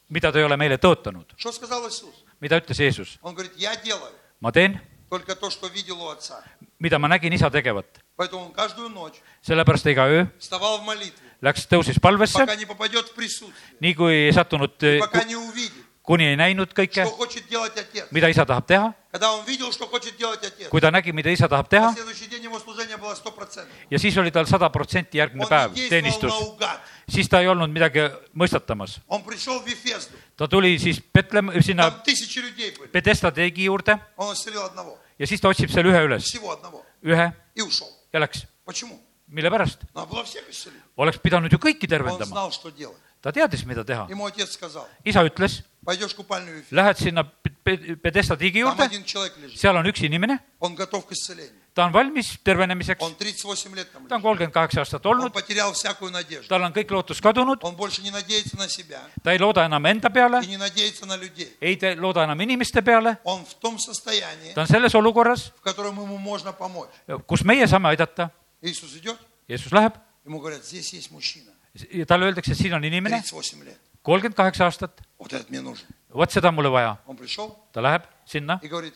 Speaker 2: mida ta ei ole meile tõotanud ,
Speaker 1: Что сказал Иисус?
Speaker 2: mida ütles Jeesus ,
Speaker 1: Он говорит, я делаю
Speaker 2: ma teen ,
Speaker 1: только то, что видел у Отца.
Speaker 2: mida ma nägin isa tegevat ,
Speaker 1: Поэтому Он каждую ночь
Speaker 2: sellepärast iga öö
Speaker 1: вставал в молитве,
Speaker 2: läks , tõusis palvesse ,
Speaker 1: пока не попадет в присутствие,
Speaker 2: nii kui ei sattunud ,
Speaker 1: пока не увидит,
Speaker 2: kuni ei näinud kõike
Speaker 1: что , хочет делать Отец.
Speaker 2: mida isa tahab teha ,
Speaker 1: Когда Он видел, что хочет делать Отец,
Speaker 2: kui ta nägi , mida isa tahab teha
Speaker 1: на следующий день Его служение было 100%.
Speaker 2: ja siis oli tal sada protsenti järgmine
Speaker 1: Он
Speaker 2: päev
Speaker 1: не действовал
Speaker 2: teenistus
Speaker 1: наугад.
Speaker 2: siis ta ei olnud midagi mõistatamas .
Speaker 1: Он пришел в Вифезду.
Speaker 2: ta tuli siis Betlem- , sinna
Speaker 1: Там тысячи людей были.
Speaker 2: Pedesta teegi juurde
Speaker 1: Он исцелил одного,
Speaker 2: ja siis ta otsib seal ühe üles ,
Speaker 1: всего одного,
Speaker 2: ühe
Speaker 1: и ушел.
Speaker 2: ja läks .
Speaker 1: Почему?
Speaker 2: mille pärast ?
Speaker 1: Надо было всех исцелить.
Speaker 2: oleks pidanud ju kõiki
Speaker 1: Он
Speaker 2: tervendama .
Speaker 1: знал, что делать.
Speaker 2: ta teadis , mida teha .
Speaker 1: Ему отец сказал,
Speaker 2: isa ütles ,
Speaker 1: пойдешь в купальную Вифезду.
Speaker 2: lähed sinna Pe- Pe- Pedesta tiigi
Speaker 1: Там
Speaker 2: juurde ,
Speaker 1: один человек лежит.
Speaker 2: seal on üks inimene ,
Speaker 1: Он готов к исцелению.
Speaker 2: ta on valmis tervenemiseks ,
Speaker 1: Он 38 лет там
Speaker 2: ta on
Speaker 1: лежит.
Speaker 2: kolmkümmend kaheksa aastat
Speaker 1: Он
Speaker 2: olnud ,
Speaker 1: потерял всякую надежду.
Speaker 2: tal on kõik lootus kadunud ,
Speaker 1: Он больше не надеется на себя
Speaker 2: ta ei looda enam enda peale
Speaker 1: и , не надеется на людей.
Speaker 2: ei te- looda enam inimeste peale ,
Speaker 1: Он в том состоянии,
Speaker 2: ta on selles olukorras ,
Speaker 1: в котором ему можно помочь.
Speaker 2: kus meie saame aidata ,
Speaker 1: Иисус идет,
Speaker 2: Jeesus läheb
Speaker 1: ему говорят, здесь есть мужчина,
Speaker 2: ja talle öeldakse , et siin on inimene ,
Speaker 1: 38 лет.
Speaker 2: kolmkümmend kaheksa aastat ,
Speaker 1: Вот этот мне нужен.
Speaker 2: vot seda on mulle vaja .
Speaker 1: Он пришел
Speaker 2: ta läheb sinna
Speaker 1: и говорит,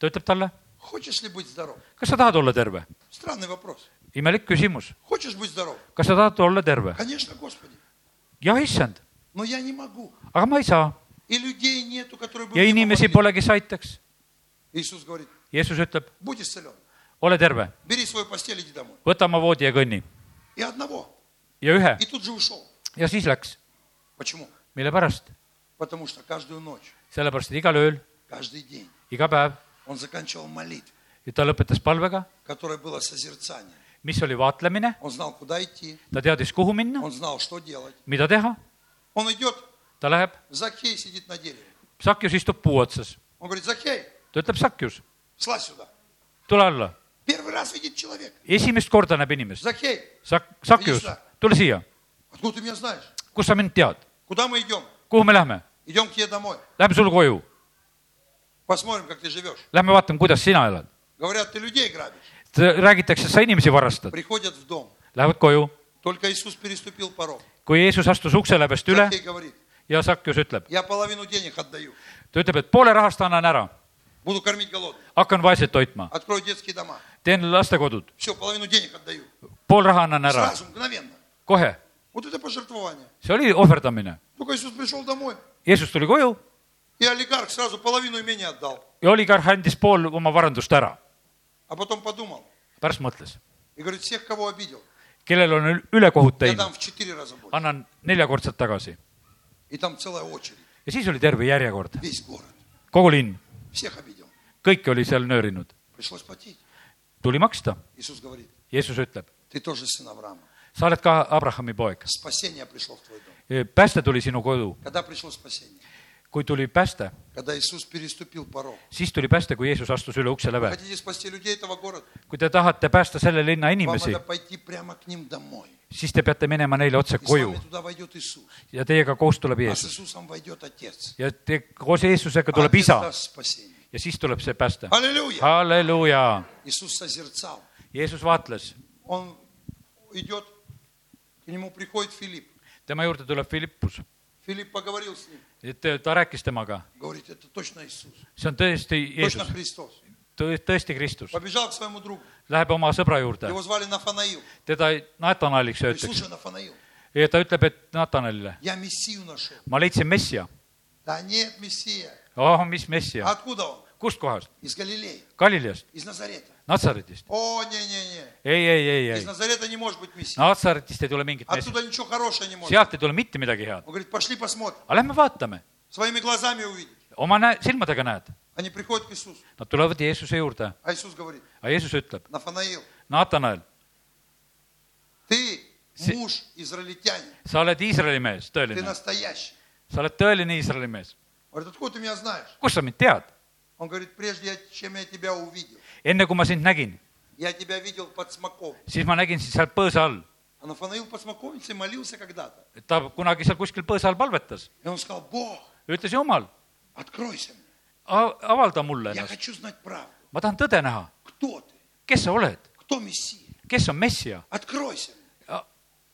Speaker 2: ta ütleb talle ,
Speaker 1: Хочешь ли быть здоров?
Speaker 2: kas sa tahad olla terve ?
Speaker 1: Странный вопрос.
Speaker 2: imelik küsimus ,
Speaker 1: Хочешь быть здоров?
Speaker 2: kas sa tahad olla terve ?
Speaker 1: Конечно, Господи.
Speaker 2: jah , issand ,
Speaker 1: Но я не могу.
Speaker 2: aga ma ei saa
Speaker 1: И людей нету, которые бы
Speaker 2: ja
Speaker 1: мне
Speaker 2: inimesi
Speaker 1: помогли.
Speaker 2: pole , kes aitaks .
Speaker 1: Иисус говорит,
Speaker 2: Jeesus ütleb ,
Speaker 1: будь исцелен.
Speaker 2: ole terve ,
Speaker 1: Бери свою постель, иди домой.
Speaker 2: võta oma voodi ja kõnni
Speaker 1: И одного.
Speaker 2: ja ühe
Speaker 1: И тут же ушел.
Speaker 2: ja siis läks .
Speaker 1: Почему?
Speaker 2: mille pärast ?
Speaker 1: Потому что каждую ночь,
Speaker 2: sellepärast , et igal ööl ,
Speaker 1: каждый день
Speaker 2: iga päev
Speaker 1: он заканчивал молитву,
Speaker 2: ta lõpetas palvega ,
Speaker 1: которая была созерцание.
Speaker 2: mis oli vaatlemine ,
Speaker 1: Он знал, куда идти,
Speaker 2: ta teadis , kuhu minna ,
Speaker 1: он знал, что делать.
Speaker 2: mida teha ,
Speaker 1: Он идет,
Speaker 2: ta läheb ,
Speaker 1: Закхей сидит на дереве.
Speaker 2: Sakjus istub puu otsas ,
Speaker 1: Он говорит, Закхей,
Speaker 2: ta ütleb , Sakjus ,
Speaker 1: слазь сюда.
Speaker 2: tule alla ,
Speaker 1: Первый раз видит человек.
Speaker 2: esimest korda näeb inimest ,
Speaker 1: Закхей,
Speaker 2: Sak- , Sakjus , tule siia ,
Speaker 1: откуда ты меня знаешь?
Speaker 2: kus sa mind tead ,
Speaker 1: Куда мы идем?
Speaker 2: kuhu me läheme ,
Speaker 1: Идем к тебе домой.
Speaker 2: läheme sulle koju ,
Speaker 1: Посмотрим, как ты живешь.
Speaker 2: lähme vaatame , kuidas sina elad .
Speaker 1: Говорят, ты людей грабишь.
Speaker 2: räägitakse , et sa inimesi varastad ,
Speaker 1: Приходят в дом.
Speaker 2: lähevad koju ,
Speaker 1: Только Иисус переступил порог.
Speaker 2: kui Jeesus astus ukse läbest üle
Speaker 1: Закхей говорит,
Speaker 2: ja Sakjus ütleb ,
Speaker 1: я половину денег отдаю.
Speaker 2: ta ütleb , et poole rahast annan ära ,
Speaker 1: Буду кормить голодных.
Speaker 2: hakkan vaeseid toitma ,
Speaker 1: Открою детские дома.
Speaker 2: teen lastekodud ,
Speaker 1: Все, половину денег отдаю.
Speaker 2: pool raha annan ära ,
Speaker 1: Сразу, мгновенно.
Speaker 2: kohe ,
Speaker 1: Вот это пожертвование.
Speaker 2: see oli ohverdamine .
Speaker 1: Только Иисус пришел домой,
Speaker 2: Jeesus tuli koju
Speaker 1: и олигарх сразу половину имени отдал.
Speaker 2: ja oligarh andis pool oma varandust ära ,
Speaker 1: А потом подумал
Speaker 2: pärast mõtles ,
Speaker 1: и говорит, всех, кого обидел,
Speaker 2: kellel on ül- ülekohut
Speaker 1: я
Speaker 2: teinud ,
Speaker 1: дам в четыре раза больше.
Speaker 2: annan neljakordselt tagasi .
Speaker 1: И там целая очередь,
Speaker 2: ja siis oli terve järjekord ,
Speaker 1: весь город.
Speaker 2: kogu linn ,
Speaker 1: Всех обидел.
Speaker 2: kõik oli seal nöörinud ,
Speaker 1: Пришлось платить.
Speaker 2: tuli maksta .
Speaker 1: Иисус говорит,
Speaker 2: Jeesus ütleb ,
Speaker 1: ты тоже сын Авраама.
Speaker 2: sa oled ka Abrahami poeg ,
Speaker 1: Спасение пришло в твой дом.
Speaker 2: pääste tuli sinu kodu ,
Speaker 1: Когда пришло спасение?
Speaker 2: kui tuli pääste ,
Speaker 1: Когда Иисус переступил порог.
Speaker 2: siis tuli pääste , kui Jeesus astus üle ukse läve .
Speaker 1: Хотите спасти людей этого города?
Speaker 2: kui te tahate päästa selle linna
Speaker 1: Вам
Speaker 2: inimesi
Speaker 1: надо , пойти прямо к ним домой.
Speaker 2: siis te peate minema neile otse
Speaker 1: И с вами
Speaker 2: koju
Speaker 1: туда войдет Иисус.
Speaker 2: ja teiega koos tuleb
Speaker 1: А с
Speaker 2: Jeesus
Speaker 1: Иисусом войдет Отец.
Speaker 2: ja te koos Jeesusega
Speaker 1: А
Speaker 2: tuleb
Speaker 1: Отец
Speaker 2: isa
Speaker 1: даст спасение.
Speaker 2: ja siis tuleb see pääste . А?
Speaker 1: Аллилуйя!
Speaker 2: halleluuja ,
Speaker 1: Иисус созерцал.
Speaker 2: Jeesus vaatles ,
Speaker 1: Он идет, к нему приходит Филипп.
Speaker 2: tema juurde tuleb Philippus ,
Speaker 1: Филипп поговорил с ним.
Speaker 2: et ta rääkis temaga ,
Speaker 1: Говорит, это точно Иисус.
Speaker 2: see on tõesti
Speaker 1: Точно
Speaker 2: Jeesus ,
Speaker 1: Христос.
Speaker 2: tõesti Kristus ,
Speaker 1: Побежал к своему другу.
Speaker 2: läheb oma sõbra juurde ,
Speaker 1: Его звали Нафанаил.
Speaker 2: teda Natanaliks
Speaker 1: Говорит,
Speaker 2: öeldakse
Speaker 1: слушай, Нафанаил,
Speaker 2: ja ta ütleb , et Natanalile ,
Speaker 1: я Мессию нашел.
Speaker 2: ma leidsin messia .
Speaker 1: Да нет, Мессия.
Speaker 2: oh , mis
Speaker 1: А
Speaker 2: messia ,
Speaker 1: откуда он?
Speaker 2: kust kohast ?
Speaker 1: Из Галилеи,
Speaker 2: Galileast ,
Speaker 1: из Назарета.
Speaker 2: Natsaretist .
Speaker 1: О, не-не-не.
Speaker 2: ei , ei , ei , ei ,
Speaker 1: Из Назарета не Ну, может быть Мессия.
Speaker 2: Natsaretist ei tule mingit messi ,
Speaker 1: Оттуда ничего хорошего не может.
Speaker 2: sealt ei tule mitte midagi head .
Speaker 1: Он говорит, пошли посмотрим.
Speaker 2: aga lähme vaatame ,
Speaker 1: Своими глазами увидишь.
Speaker 2: oma nä- , silmadega näed ,
Speaker 1: Они приходят к Иисусу.
Speaker 2: nad tulevad Jeesuse juurde ,
Speaker 1: А Иисус говорит,
Speaker 2: aga Jeesus ütleb ,
Speaker 1: Нафанаил,
Speaker 2: Natanal ,
Speaker 1: ты
Speaker 2: Се-
Speaker 1: муж израильтянин.
Speaker 2: sa oled Iisraeli mees ,
Speaker 1: Ты
Speaker 2: tõeline ,
Speaker 1: настоящий.
Speaker 2: sa oled tõeline Iisraeli mees .
Speaker 1: Он говорит, откуда ты меня знаешь?
Speaker 2: kust sa mind tead ?
Speaker 1: Он говорит, прежде я- чем я тебя увидел,
Speaker 2: enne kui ma sind nägin ,
Speaker 1: я тебя видел под смоком.
Speaker 2: siis ma nägin sind seal põõsa all .
Speaker 1: А Нафанаил под смоковницей молился когда-то.
Speaker 2: ta kunagi seal kuskil põõsa all palvetas
Speaker 1: И он сказал, Бог,
Speaker 2: ja ütles , jumal ,
Speaker 1: откройся мне.
Speaker 2: avalda mulle
Speaker 1: Я
Speaker 2: ennast ,
Speaker 1: хочу знать правду.
Speaker 2: ma tahan tõde näha ,
Speaker 1: Кто ты?
Speaker 2: kes sa oled ,
Speaker 1: Кто Мессия?
Speaker 2: kes on Messia ,
Speaker 1: Откройся мне.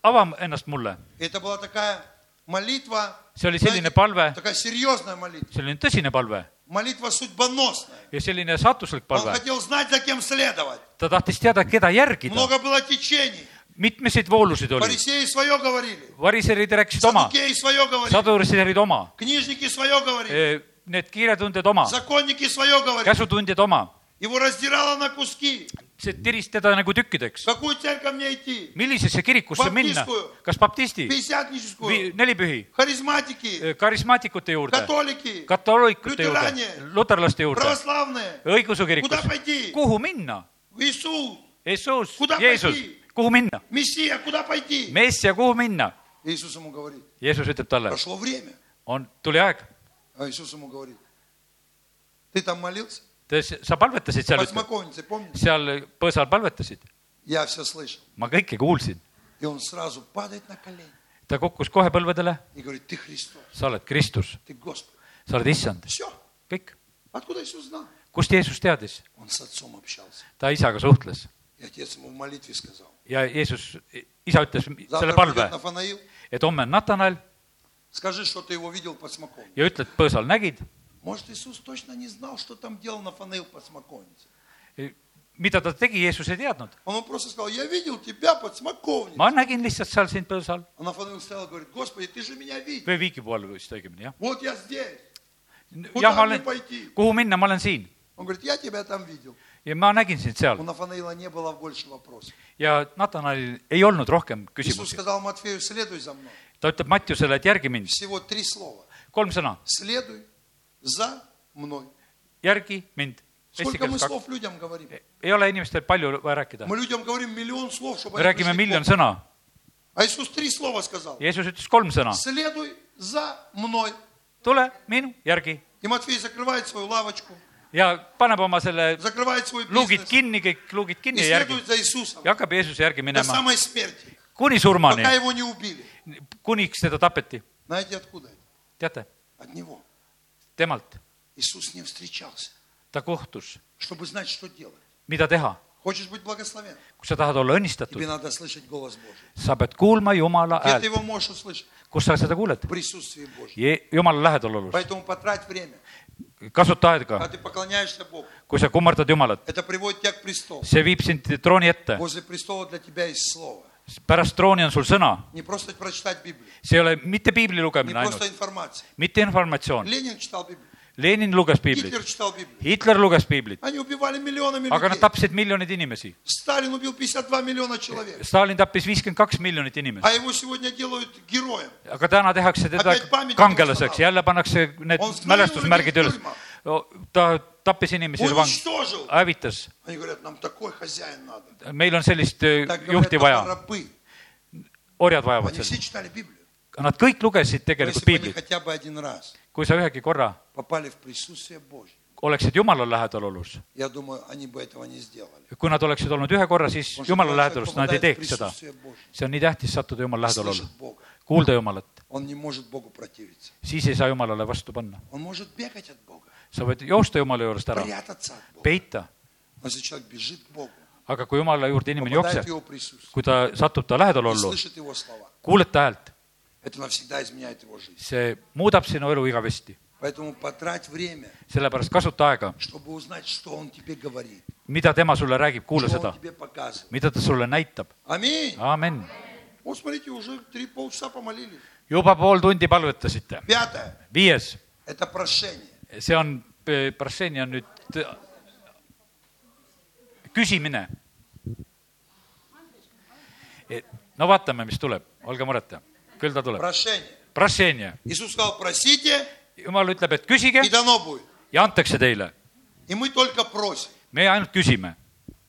Speaker 2: ava ennast mulle .
Speaker 1: И это была такая молитва,
Speaker 2: see oli selline palve ,
Speaker 1: такая серьезная молитва,
Speaker 2: selline tõsine palve
Speaker 1: молитва судьбоносная.
Speaker 2: ja selline sattuslik
Speaker 1: Он
Speaker 2: palve ,
Speaker 1: хотел знать, за кем следовать.
Speaker 2: ta tahtis teada , keda järgida ,
Speaker 1: Много было течений.
Speaker 2: mitmeseid voolusid oli ,
Speaker 1: Фарисеи свое говорили,
Speaker 2: variserid rääkisid oma ,
Speaker 1: садукеи свое говорили,
Speaker 2: saduriserid oma ,
Speaker 1: книжники свое
Speaker 2: Э,
Speaker 1: говорили,
Speaker 2: need kiiretundjad oma ,
Speaker 1: законники свое говорили.
Speaker 2: käsutundjad oma ,
Speaker 1: Его раздирало на куски.
Speaker 2: see tiris teda nagu tükkideks
Speaker 1: В Какую церковь мне идти?
Speaker 2: millisesse kirikusse minna
Speaker 1: Baptistkuju. ,
Speaker 2: kas baptisti ,
Speaker 1: Пятидесятническую,
Speaker 2: nelipühi , Э,
Speaker 1: харизматики,
Speaker 2: Äh, karismaatikute juurde ,
Speaker 1: католики,
Speaker 2: katoolikute
Speaker 1: Lüteranie.
Speaker 2: juurde , luterlaste juurde ,
Speaker 1: православные.
Speaker 2: õigeusu
Speaker 1: Куда
Speaker 2: kirikusse ,
Speaker 1: пойти?
Speaker 2: kuhu minna ?
Speaker 1: Иисус,
Speaker 2: Jeesus
Speaker 1: Kuda ,
Speaker 2: Jeesus
Speaker 1: pidi? ,
Speaker 2: kuhu minna ?
Speaker 1: Мессия, куда пойти?
Speaker 2: Messia , kuhu minna ?
Speaker 1: Иисус ему говорит,
Speaker 2: Jeesus ütleb talle ,
Speaker 1: прошло время.
Speaker 2: on , tuli aeg ,
Speaker 1: А Иисус ему говорит, ты там молился?
Speaker 2: sa palvetasid seal
Speaker 1: Под , смоковницей, помнишь?
Speaker 2: seal põõsal palvetasid ,
Speaker 1: Я все слышал.
Speaker 2: ma kõike kuulsin ,
Speaker 1: И он сразу падает на колени
Speaker 2: ta kukkus kohe põlvedele ,
Speaker 1: и говорит, ты Христос,
Speaker 2: sa oled Kristus ,
Speaker 1: ты Господь.
Speaker 2: sa oled issand ,
Speaker 1: Все.
Speaker 2: kõik .
Speaker 1: Откуда Иисус знал?
Speaker 2: kust Jeesus teadis ?
Speaker 1: Он с отцом общался.
Speaker 2: ta isaga suhtles
Speaker 1: И отец ему в молитве сказал.
Speaker 2: ja Jeesus , isa ütles selle
Speaker 1: Завтра
Speaker 2: palve
Speaker 1: придет , Нафанаил,
Speaker 2: et homme on Natanel
Speaker 1: скажи, что ты его видел под смоковницей.
Speaker 2: ja ütled , põõsal nägid ,
Speaker 1: Может, Иисус точно не знал, что там делал Нафанаил под смоковницей.
Speaker 2: mida ta tegi , Jeesus ei teadnud .
Speaker 1: Он ему просто сказал, я видел тебя под смоковником.
Speaker 2: ma nägin lihtsalt seal sind põõsal
Speaker 1: А Нафанаил стоял и говорит, Господи, ты же меня видел.
Speaker 2: või viigi pool vist õigemini , jah .
Speaker 1: Вот я здесь. Куда
Speaker 2: jah , ma
Speaker 1: мне
Speaker 2: olen ,
Speaker 1: пойти?
Speaker 2: kuhu minna , ma olen siin
Speaker 1: Он говорит, я тебя там видел.
Speaker 2: ja ma nägin sind seal
Speaker 1: У Нафанаила не было больше вопросов.
Speaker 2: ja Natanalil ei olnud rohkem küsimusi .
Speaker 1: Иисус сказал Матфею, следуй за мной.
Speaker 2: ta ütleb Mattiusele , et järgi mind ,
Speaker 1: Всего три слова.
Speaker 2: kolm sõna ,
Speaker 1: Следуй за мной.
Speaker 2: järgi mind . eesti
Speaker 1: Сколько мы
Speaker 2: keeles kaks ,
Speaker 1: слов людям говорим?
Speaker 2: ei ole inimestel palju vaja rääkida .
Speaker 1: Мы людям говорим миллион слов, чтобы
Speaker 2: me
Speaker 1: они
Speaker 2: räägime
Speaker 1: пришли к
Speaker 2: miljon
Speaker 1: Богу.
Speaker 2: sõna ,
Speaker 1: А Иисус три слова сказал.
Speaker 2: Jeesus ütles kolm sõna ,
Speaker 1: Следуй за мной.
Speaker 2: tule minu järgi
Speaker 1: И Матфей закрывает свою лавочку,
Speaker 2: ja paneb oma selle
Speaker 1: закрывает свой
Speaker 2: luugid
Speaker 1: бизнес
Speaker 2: kinni , kõik luugid
Speaker 1: и
Speaker 2: kinni ja järgi
Speaker 1: следует за Иисусом
Speaker 2: ja hakkab Jeesuse järgi
Speaker 1: до
Speaker 2: minema
Speaker 1: самой смерти,
Speaker 2: kuni surmani
Speaker 1: пока , его не убили.
Speaker 2: kuniks teda tapeti .
Speaker 1: Знаете откуда? это?
Speaker 2: teate ,
Speaker 1: От него.
Speaker 2: temalt ,
Speaker 1: Иисус с ним встречался,
Speaker 2: ta kohtus ,
Speaker 1: чтобы знать, что делать.
Speaker 2: mida teha ,
Speaker 1: Хочешь быть благословен?
Speaker 2: kui sa tahad olla õnnistatud
Speaker 1: Тебе , надо слышать голос Божий.
Speaker 2: sa pead kuulma Jumala
Speaker 1: Где ты
Speaker 2: häält ,
Speaker 1: его можешь услышать?
Speaker 2: kus sa seda kuuled
Speaker 1: В присутствии Божьем.
Speaker 2: Je, jumala lähedalolus ,
Speaker 1: Поэтому потрать время,
Speaker 2: kasuta aega
Speaker 1: когда , ты поклоняешься Богу.
Speaker 2: kui sa kummardad Jumalat ,
Speaker 1: Это приводит тебя к престолу.
Speaker 2: see viib sind trooni ette ,
Speaker 1: Возле престола для тебя есть слово.
Speaker 2: pärast trooni on sul sõna ,
Speaker 1: Не просто прочитать Библию,
Speaker 2: see ei ole mitte piibli
Speaker 1: не
Speaker 2: lugemine
Speaker 1: просто
Speaker 2: ainult ,
Speaker 1: информация.
Speaker 2: mitte informatsioon ,
Speaker 1: Ленин читал Библию,
Speaker 2: Lenin luges piiblit ,
Speaker 1: Гитлер читал Библию.
Speaker 2: Hitler luges piiblit ,
Speaker 1: Они убивали миллионами
Speaker 2: aga nad
Speaker 1: людей.
Speaker 2: tapsid miljoneid inimesi ,
Speaker 1: Сталин убил 52 миллиона человек.
Speaker 2: Stalin tappis viiskümmend kaks miljonit inimest ,
Speaker 1: А его сегодня делают героем.
Speaker 2: aga täna tehakse teda
Speaker 1: Aga et pameti
Speaker 2: kangelaseks ,
Speaker 1: musta-
Speaker 2: jälle pannakse need
Speaker 1: On see
Speaker 2: mälestusmärgid
Speaker 1: julm-
Speaker 2: üles . ta tappis inimesi ,
Speaker 1: Уничтожил.
Speaker 2: А? hävitas ,
Speaker 1: Они говорят, нам такой хозяин надо.
Speaker 2: meil on sellist öö,
Speaker 1: Так говорят,
Speaker 2: juhti
Speaker 1: наши
Speaker 2: vaja ,
Speaker 1: рабы.
Speaker 2: orjad vajavad
Speaker 1: Они
Speaker 2: seda
Speaker 1: все читали Библию.
Speaker 2: nad kõik lugesid
Speaker 1: Но Если
Speaker 2: tegelikult
Speaker 1: бы они
Speaker 2: piiblit ,
Speaker 1: хотя бы один раз
Speaker 2: kui sa ühegi korra
Speaker 1: попали в присутствие Божье,
Speaker 2: oleksid Jumala lähedalolus ,
Speaker 1: я думаю, они бы этого не сделали.
Speaker 2: kui nad oleksid olnud ühe korra , siis
Speaker 1: Потому что
Speaker 2: Jumala
Speaker 1: когда человек
Speaker 2: lähedalust nad ei
Speaker 1: попадает в
Speaker 2: teeks seda .
Speaker 1: присутствие Божье,
Speaker 2: see on nii tähtis sattuda Jumala lähedalollu
Speaker 1: слышит , Бога.
Speaker 2: kuulda Jumalat ,
Speaker 1: Он не может Богу противиться.
Speaker 2: siis ei saa Jumalale vastu panna .
Speaker 1: Он может бегать от Бога,
Speaker 2: sa võid joosta Jumala juurest ära ,
Speaker 1: прятаться от Бога.
Speaker 2: peita ,
Speaker 1: Но если человек бежит к Богу,
Speaker 2: aga kui Jumala juurde inimene
Speaker 1: попадает в
Speaker 2: jookseb ,
Speaker 1: его присутствие,
Speaker 2: kui ta satub ta
Speaker 1: и
Speaker 2: lähedalollu ,
Speaker 1: слышит его слова,
Speaker 2: kuuled ta häält ,
Speaker 1: это навсегда изменяет его жизнь.
Speaker 2: see muudab sinu elu igavesti .
Speaker 1: Поэтому потрать время,
Speaker 2: sellepärast kasuta aega ,
Speaker 1: чтобы узнать, что он тебе говорит,
Speaker 2: mida tema sulle räägib , kuula
Speaker 1: что
Speaker 2: seda
Speaker 1: он , тебе показывает.
Speaker 2: mida ta sulle näitab .
Speaker 1: Аминь.
Speaker 2: amin .
Speaker 1: Вот смотрите, уже три полчаса помолились.
Speaker 2: juba pool tundi palvetasite .
Speaker 1: Пятое.
Speaker 2: viies
Speaker 1: Это прошение.
Speaker 2: see on , Brasseni on nüüd t- küsimine . no vaatame , mis tuleb , olge mureta , küll ta tuleb .
Speaker 1: Прошение.
Speaker 2: Brasseni ,
Speaker 1: Иисус сказал, просите,
Speaker 2: jumal ütleb , et küsige
Speaker 1: и дано будет.
Speaker 2: ja antakse teile .
Speaker 1: И мы только просим.
Speaker 2: me ainult küsime ,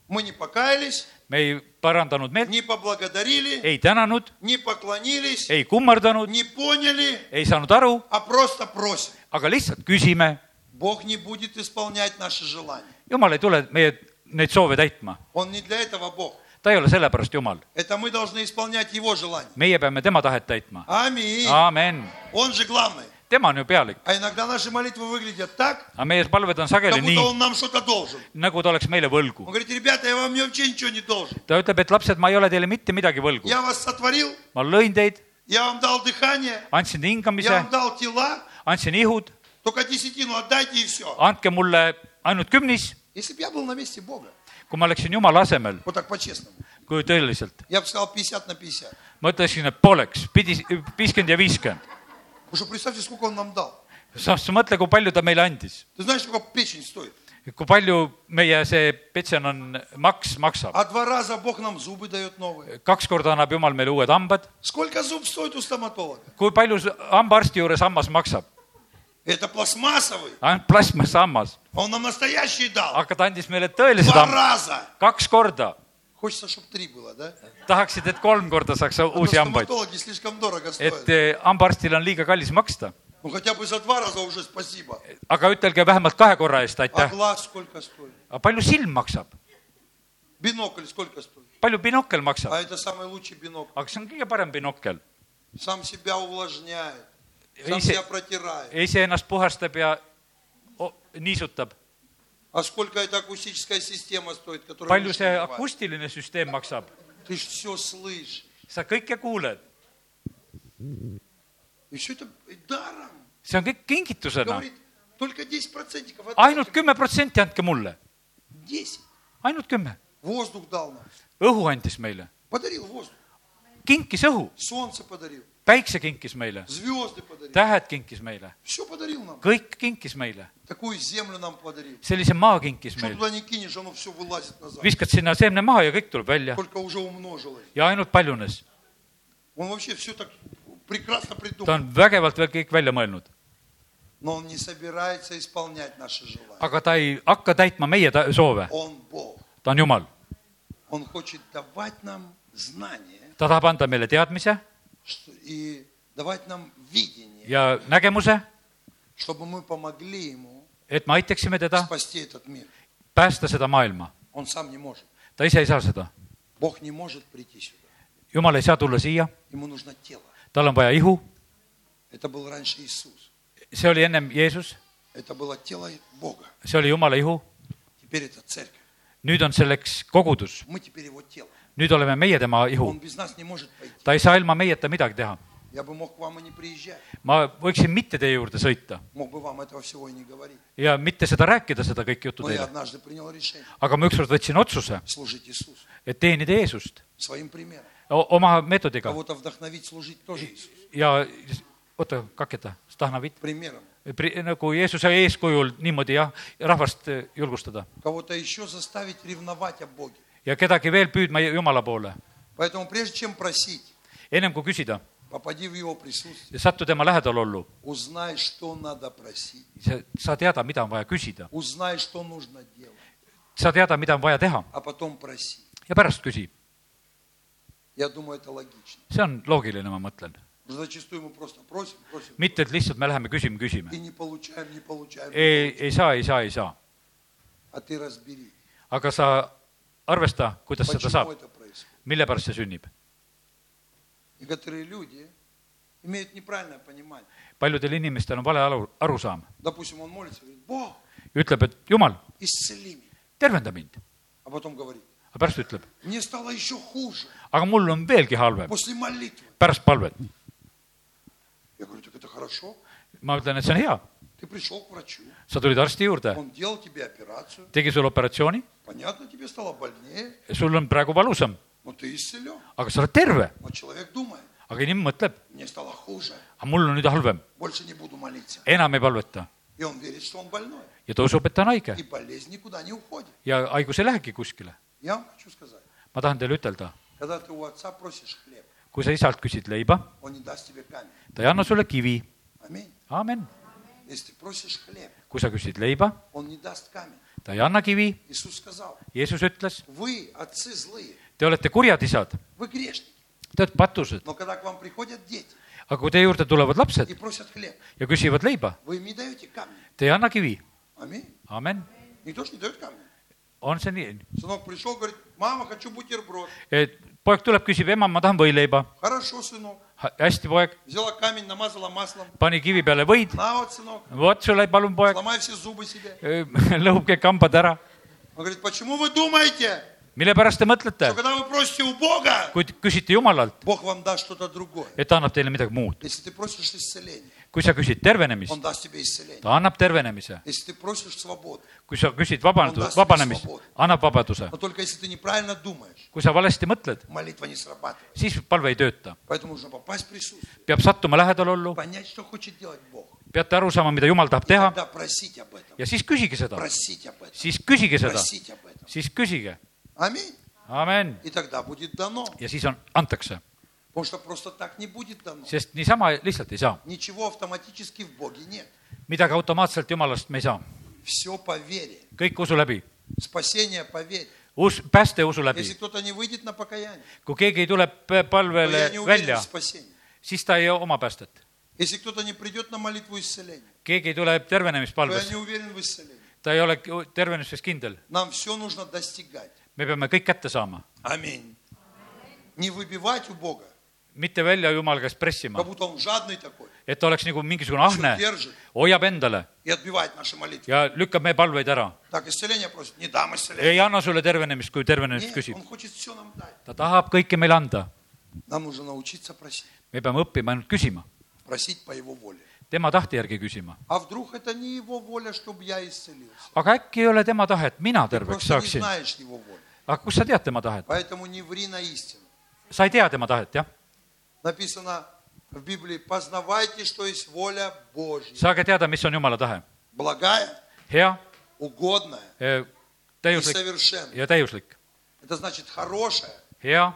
Speaker 1: Мы не покаялись,
Speaker 2: me ei parandanud meelt ,
Speaker 1: не поблагодарили,
Speaker 2: ei tänanud ,
Speaker 1: не поклонились,
Speaker 2: ei kummardanud ,
Speaker 1: не поняли,
Speaker 2: ei saanud aru ,
Speaker 1: а просто просим.
Speaker 2: aga lihtsalt küsime .
Speaker 1: Бог не будет исполнять наши желания.
Speaker 2: jumal ei tule meie neid soove täitma ,
Speaker 1: Он не для этого Бог.
Speaker 2: ta ei ole sellepärast jumal ,
Speaker 1: Это мы должны исполнять Его желания.
Speaker 2: meie peame tema tahet täitma .
Speaker 1: Аминь.
Speaker 2: aamen ,
Speaker 1: Он же главный.
Speaker 2: tema on ju pealik ,
Speaker 1: А иногда наши молитвы выглядят так,
Speaker 2: aga meie palved on
Speaker 1: как
Speaker 2: sageli
Speaker 1: будто
Speaker 2: nii
Speaker 1: Он нам что-то должен.
Speaker 2: nagu ta oleks meile
Speaker 1: Он
Speaker 2: võlgu .
Speaker 1: говорит, ребята, я вам вообще ничего не должен.
Speaker 2: ta ütleb , et lapsed , ma ei ole teile mitte midagi võlgu .
Speaker 1: Я вас сотворил,
Speaker 2: ma lõin teid ,
Speaker 1: я вам дал дыхание,
Speaker 2: andsin hingamise
Speaker 1: я вам , дал тела,
Speaker 2: andsin ihud ,
Speaker 1: только десятину отдайте и все.
Speaker 2: andke mulle ainult kümnis ,
Speaker 1: Если бы я был на месте Бога,
Speaker 2: kui ma oleksin Jumala asemel ,
Speaker 1: вот так по-честному,
Speaker 2: kui tõeliselt .
Speaker 1: я бы сказал 50 на 50.
Speaker 2: ma ütleksin , et pooleks , pidi viiskümmend ja viiskümmend .
Speaker 1: Потому что представьте, сколько Он нам дал.
Speaker 2: samas mõtle , kui palju ta meile andis ,
Speaker 1: Ты знаешь, сколько печень стоит?
Speaker 2: kui palju meie see petsen on , maks maksab .
Speaker 1: А два раза Бог нам зубы дает новые.
Speaker 2: kaks korda annab Jumal meile uued hambad ,
Speaker 1: Сколько зуб стоит у стоматолога?
Speaker 2: kui palju s- hambaarsti juures hammas maksab ?
Speaker 1: Это пластмассовый.
Speaker 2: ainult plastmasshammas ,
Speaker 1: А Он нам настоящий дал.
Speaker 2: aga ta andis meile tõelised
Speaker 1: Два
Speaker 2: hambad ,
Speaker 1: раза.
Speaker 2: kaks korda
Speaker 1: Хочется, чтобы три было, да?
Speaker 2: tahaksid , et kolm korda saaks
Speaker 1: Потому
Speaker 2: uusi
Speaker 1: что
Speaker 2: hambaid ,
Speaker 1: стоматологи слишком дорого
Speaker 2: et
Speaker 1: стоят.
Speaker 2: eh, hambaarstil on liiga kallis maksta ,
Speaker 1: Ну хотя бы за два раза уже спасибо.
Speaker 2: aga ütelge vähemalt kahe korra eest
Speaker 1: А
Speaker 2: aitäh .
Speaker 1: глаз сколько стоит?
Speaker 2: aga palju silm maksab ,
Speaker 1: Бинокль сколько стоит?
Speaker 2: palju binokkel maksab ,
Speaker 1: А это самый лучший бинокль.
Speaker 2: aga see on kõige parem binokkel ,
Speaker 1: Сам себя увлажняет, сам
Speaker 2: Если-
Speaker 1: себя протирает.
Speaker 2: iseennast puhastab ja o- niisutab .
Speaker 1: А сколько эта акустическая система стоит, которая
Speaker 2: palju
Speaker 1: уши
Speaker 2: see
Speaker 1: надевает?
Speaker 2: akustiline süsteem maksab ,
Speaker 1: Ты же все слышишь.
Speaker 2: sa kõike kuuled ,
Speaker 1: И все это даром.
Speaker 2: see on kõik kingitusena ,
Speaker 1: Говорит, только 10 процентиков.
Speaker 2: ainult kümme protsenti andke mulle ,
Speaker 1: 10.
Speaker 2: ainult kümme .
Speaker 1: Воздух дал нам.
Speaker 2: õhu andis meile ,
Speaker 1: Подарил воздух.
Speaker 2: kinkis õhu ,
Speaker 1: Солнце подарил.
Speaker 2: päikse kinkis meile ,
Speaker 1: Звезды подарил.
Speaker 2: tähed kinkis meile ,
Speaker 1: Все подарил нам.
Speaker 2: kõik kinkis meile ,
Speaker 1: Такую землю нам подарил.
Speaker 2: sellise maa kinkis
Speaker 1: Что
Speaker 2: meile .
Speaker 1: туда не кинешь, оно все вылазит назад.
Speaker 2: viskad sinna seemne maha ja kõik tuleb välja
Speaker 1: Только уже умножилось.
Speaker 2: ja ainult paljunes .
Speaker 1: Он вообще все так
Speaker 2: ta
Speaker 1: прекрасно придумал.
Speaker 2: on vägevalt veel kõik välja mõelnud ,
Speaker 1: Но он не собирается исполнять наши желания.
Speaker 2: aga ta ei hakka täitma meie ta soove ,
Speaker 1: Он Бог.
Speaker 2: ta on Jumal .
Speaker 1: Он хочет давать нам знания
Speaker 2: ta tahab anda meile teadmise
Speaker 1: что- и давать нам видение,
Speaker 2: ja nägemuse ,
Speaker 1: чтобы мы помогли ему
Speaker 2: et me aitaksime teda
Speaker 1: спасти этот мир.
Speaker 2: päästa seda maailma .
Speaker 1: Он сам не может.
Speaker 2: ta ise ei saa seda .
Speaker 1: Бог не может прийти сюда.
Speaker 2: Jumal ei saa tulla siia ,
Speaker 1: Ему нужно тело.
Speaker 2: tal on vaja ihu ,
Speaker 1: Это был раньше Иисус.
Speaker 2: see oli ennem Jeesus ,
Speaker 1: Это было тело Бога.
Speaker 2: see oli Jumala ihu ,
Speaker 1: Теперь это церковь.
Speaker 2: nüüd on selleks kogudus ,
Speaker 1: Мы теперь его тело.
Speaker 2: nüüd oleme meie tema ihu
Speaker 1: Он . без нас не может пойти.
Speaker 2: ta ei saa ilma meieta midagi teha .
Speaker 1: Я бы мог к вам и не приезжать.
Speaker 2: ma võiksin mitte teie juurde sõita
Speaker 1: Мог бы вам этого всего и не говорить.
Speaker 2: ja mitte seda rääkida , seda kõike juttu
Speaker 1: Но я
Speaker 2: teile ,
Speaker 1: однажды принял решение
Speaker 2: aga ma ükskord võtsin otsuse ,
Speaker 1: служить Иисусу.
Speaker 2: et teenida Jeesust
Speaker 1: Своим примером.
Speaker 2: O- oma meetodiga
Speaker 1: Кого-то вдохновить служить тоже Иисусу.
Speaker 2: ja oota , kaketa , Stahnavit ,
Speaker 1: Примером.
Speaker 2: nagu Jeesuse eeskujul niimoodi jah , rahvast eh, julgustada
Speaker 1: Кого-то еще заставить ревновать о Боге.
Speaker 2: ja kedagi veel püüdma Jumala poole ,
Speaker 1: Поэтому прежде чем просить,
Speaker 2: ennem kui küsida ,
Speaker 1: попади в его присутствие,
Speaker 2: satu tema lähedalollu ,
Speaker 1: узнай, что надо просить.
Speaker 2: sa sa teada , mida on vaja küsida ,
Speaker 1: Узнай, что нужно делать,
Speaker 2: sa teada , mida on vaja teha
Speaker 1: а потом проси.
Speaker 2: ja pärast küsi .
Speaker 1: Я думаю, это логично.
Speaker 2: see on loogiline , ma mõtlen ,
Speaker 1: Потому что Зачастую мы просто просим, просим
Speaker 2: mitte et lihtsalt me läheme küsime , küsime
Speaker 1: и . не получаем, не получаем.
Speaker 2: ei , ei saa , ei saa , ei saa ,
Speaker 1: А ты разбери,
Speaker 2: aga sa arvesta , kuidas seda
Speaker 1: почему
Speaker 2: saab ,
Speaker 1: это происходит.
Speaker 2: mille pärast see sünnib .
Speaker 1: Некоторые люди имеют неправильное понимание.
Speaker 2: paljudel inimestel on vale aru , arusaam ,
Speaker 1: Допустим, он молится, говорит, Бог,
Speaker 2: ütleb , et jumal ,
Speaker 1: исцели меня.
Speaker 2: tervenda mind ,
Speaker 1: А потом говорит,
Speaker 2: aga pärast ütleb ,
Speaker 1: мне стало еще хуже
Speaker 2: aga mul on veelgi halvem
Speaker 1: после молитвы.
Speaker 2: pärast palvet .
Speaker 1: Я говорю, так это хорошо.
Speaker 2: ma ütlen , et see on hea ,
Speaker 1: Ты пришел к врачу,
Speaker 2: sa tulid arsti juurde ,
Speaker 1: он делал тебе операцию.
Speaker 2: tegi sulle operatsiooni ,
Speaker 1: Понятно, тебе стало больнее,
Speaker 2: sul on praegu valusam ,
Speaker 1: но ты исцелен.
Speaker 2: aga sa oled terve ,
Speaker 1: Но человек думает,
Speaker 2: aga inimene mõtleb ,
Speaker 1: мне стало хуже,
Speaker 2: aga mul on nüüd halvem ,
Speaker 1: больше не буду молиться.
Speaker 2: enam ei palveta
Speaker 1: И он верит, что он больной.
Speaker 2: ja ta usub , et ta on haige
Speaker 1: И болезнь никуда не уходит.
Speaker 2: ja haigus ei lähegi kuskile .
Speaker 1: Я вам хочу сказать,
Speaker 2: ma tahan teile ütelda ,
Speaker 1: когда ты у отца просишь хлеб,
Speaker 2: kui sa isalt küsid leiba ,
Speaker 1: он не даст тебе камень.
Speaker 2: ta ei anna sulle kivi ,
Speaker 1: Аминь.
Speaker 2: aamen .
Speaker 1: Если ты просишь хлеб,
Speaker 2: kui sa küsid leiba ,
Speaker 1: он не даст камень.
Speaker 2: ta ei anna kivi ,
Speaker 1: Иисус сказал,
Speaker 2: Jeesus ütles ,
Speaker 1: вы, отцы злые,
Speaker 2: te olete kurjad isad ,
Speaker 1: вы грешники,
Speaker 2: te olete patused ,
Speaker 1: но когда к вам приходят дети
Speaker 2: aga kui teie juurde tulevad lapsed
Speaker 1: и просят хлеб,
Speaker 2: ja küsivad leiba ,
Speaker 1: вы им не даете камни.
Speaker 2: te ei anna kivi ,
Speaker 1: Аминь.
Speaker 2: aamen ,
Speaker 1: Никто же не дает камни.
Speaker 2: on see nii ,
Speaker 1: Сынок пришел, говорит, мама, хочу бутерброд.
Speaker 2: et poeg tuleb , küsib , ema , ma tahan võileiba ,
Speaker 1: Хорошо, сынок.
Speaker 2: hästi , poeg ,
Speaker 1: Взяла камень, намазала маслом.
Speaker 2: pani kivi peale võid ,
Speaker 1: На вот, сынок,
Speaker 2: vot sulle , palun , poeg , [LAUGHS]
Speaker 1: сломай все зубы себе.
Speaker 2: lõhub kõik hambad ära .
Speaker 1: Он говорит, почему вы думаете,
Speaker 2: mille pärast te mõtlete
Speaker 1: что , когда вы просите у Бога,
Speaker 2: kui te küsite Jumalalt ,
Speaker 1: Бог вам даст что-то другое.
Speaker 2: et ta annab teile midagi muud ,
Speaker 1: Если ты просишь исцеления,
Speaker 2: kui sa küsid tervenemist
Speaker 1: Он , даст тебе исцеление.
Speaker 2: ta annab tervenemise ,
Speaker 1: Если ты prosишь свободы,
Speaker 2: kui sa küsid vabandust , vabanemist , annab vabaduse ,
Speaker 1: но только если ты неправильно думаешь,
Speaker 2: kui sa valesti mõtled ,
Speaker 1: молитва не срабатывает.
Speaker 2: siis palve ei tööta ,
Speaker 1: Поэтому нужно попасть в присутствие,
Speaker 2: peab sattuma lähedalollu ,
Speaker 1: понять, что хочет делать Бог.
Speaker 2: peate aru saama , mida Jumal tahab
Speaker 1: И
Speaker 2: teha
Speaker 1: тогда просить об этом.
Speaker 2: ja siis küsige seda ,
Speaker 1: Просить об этом.
Speaker 2: siis küsige seda ,
Speaker 1: Просить об этом.
Speaker 2: siis küsige ,
Speaker 1: Аминь.
Speaker 2: amen .
Speaker 1: И тогда будет дано.
Speaker 2: ja siis on , antakse ,
Speaker 1: Потому что просто так не будет дано.
Speaker 2: sest niisama lihtsalt ei saa ,
Speaker 1: Ничего автоматически в Боге нет.
Speaker 2: midagi automaatselt Jumalast me ei saa ,
Speaker 1: Все по вере.
Speaker 2: kõik usu läbi ,
Speaker 1: Спасение по вере.
Speaker 2: uus , pääste usu läbi
Speaker 1: Если , кто-то не выйдет на покаяние,
Speaker 2: kui keegi ei tule p-
Speaker 1: то я
Speaker 2: palvele
Speaker 1: не уверен
Speaker 2: välja
Speaker 1: в , спасении.
Speaker 2: siis ta ei oma päästet .
Speaker 1: Если кто-то не придет на молитву исцеления,
Speaker 2: keegi ei tule
Speaker 1: то я
Speaker 2: tervenemispalves
Speaker 1: не , уверен в исцелении.
Speaker 2: ta ei ole k- tervenemises kindel ,
Speaker 1: Нам все нужно достигать.
Speaker 2: me peame kõik kätte saama ,
Speaker 1: Аминь. Не выбивать у Бога,
Speaker 2: mitte välja Jumala käest pressima
Speaker 1: как , будто Он жадный такой,
Speaker 2: et ta oleks nagu mingisugune ahne
Speaker 1: всё , держит
Speaker 2: hoiab endale
Speaker 1: и отбивает наши молитвы.
Speaker 2: ja lükkab meie palveid ära ,
Speaker 1: Так, исцеление просит, не дам исцеление.
Speaker 2: ei anna sulle tervenemist , kui tervenemist
Speaker 1: Нет,
Speaker 2: küsib
Speaker 1: Он хочет все нам дать.
Speaker 2: ta tahab kõike meile anda ,
Speaker 1: Нам нужно научиться просить.
Speaker 2: me peame õppima ainult küsima ,
Speaker 1: Просить по Его воле.
Speaker 2: tema tahte järgi küsima .
Speaker 1: А вдруг это не его воля, чтобы я исцелился?
Speaker 2: aga äkki ei ole tema tahe , et mina terveks
Speaker 1: Просто не
Speaker 2: saaksin .
Speaker 1: знаешь его воли.
Speaker 2: aga kust sa tead tema tahet ?
Speaker 1: Поэтому не ври на истину.
Speaker 2: sa ei tea tema tahet , jah ?
Speaker 1: Написано в Библии, познавайте, что есть воля Божья.
Speaker 2: saage teada , mis on Jumala tahe .
Speaker 1: Благая,
Speaker 2: hea ,
Speaker 1: угодная и
Speaker 2: täiuslik
Speaker 1: совершенная.
Speaker 2: ja täiuslik .
Speaker 1: Это значит хорошая,
Speaker 2: hea ,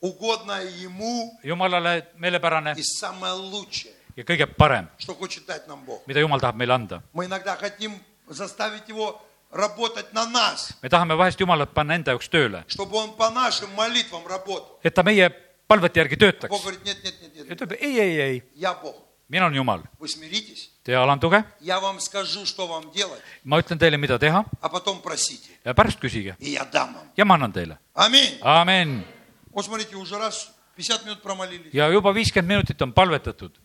Speaker 1: угодная Ему
Speaker 2: Jumalale meelepärane
Speaker 1: и самое лучшее,
Speaker 2: ja kõige parem ,
Speaker 1: что хочет дать нам Бог.
Speaker 2: mida Jumal tahab meile anda .
Speaker 1: Мы иногда хотим заставить Его работать на нас,
Speaker 2: me tahame vahest Jumalat panna enda jaoks tööle ,
Speaker 1: чтобы Он по нашим молитвам работал.
Speaker 2: et ta meie palvete järgi
Speaker 1: Бог
Speaker 2: töötaks .
Speaker 1: говорит, нет, нет, нет, нет,
Speaker 2: ütleb ei , ei , ei ,
Speaker 1: я Бог.
Speaker 2: mina olen Jumal ,
Speaker 1: Вы смиритесь,
Speaker 2: te alanduge ,
Speaker 1: я вам скажу, что вам делать,
Speaker 2: ma ütlen teile , mida teha
Speaker 1: а потом просите,
Speaker 2: ja pärast küsige
Speaker 1: и я дам вам.
Speaker 2: ja ma annan teile .
Speaker 1: Аминь.
Speaker 2: amin .
Speaker 1: Вот смотрите, уже раз 50 минут промолились.
Speaker 2: ja juba viiskümmend minutit on palvetatud .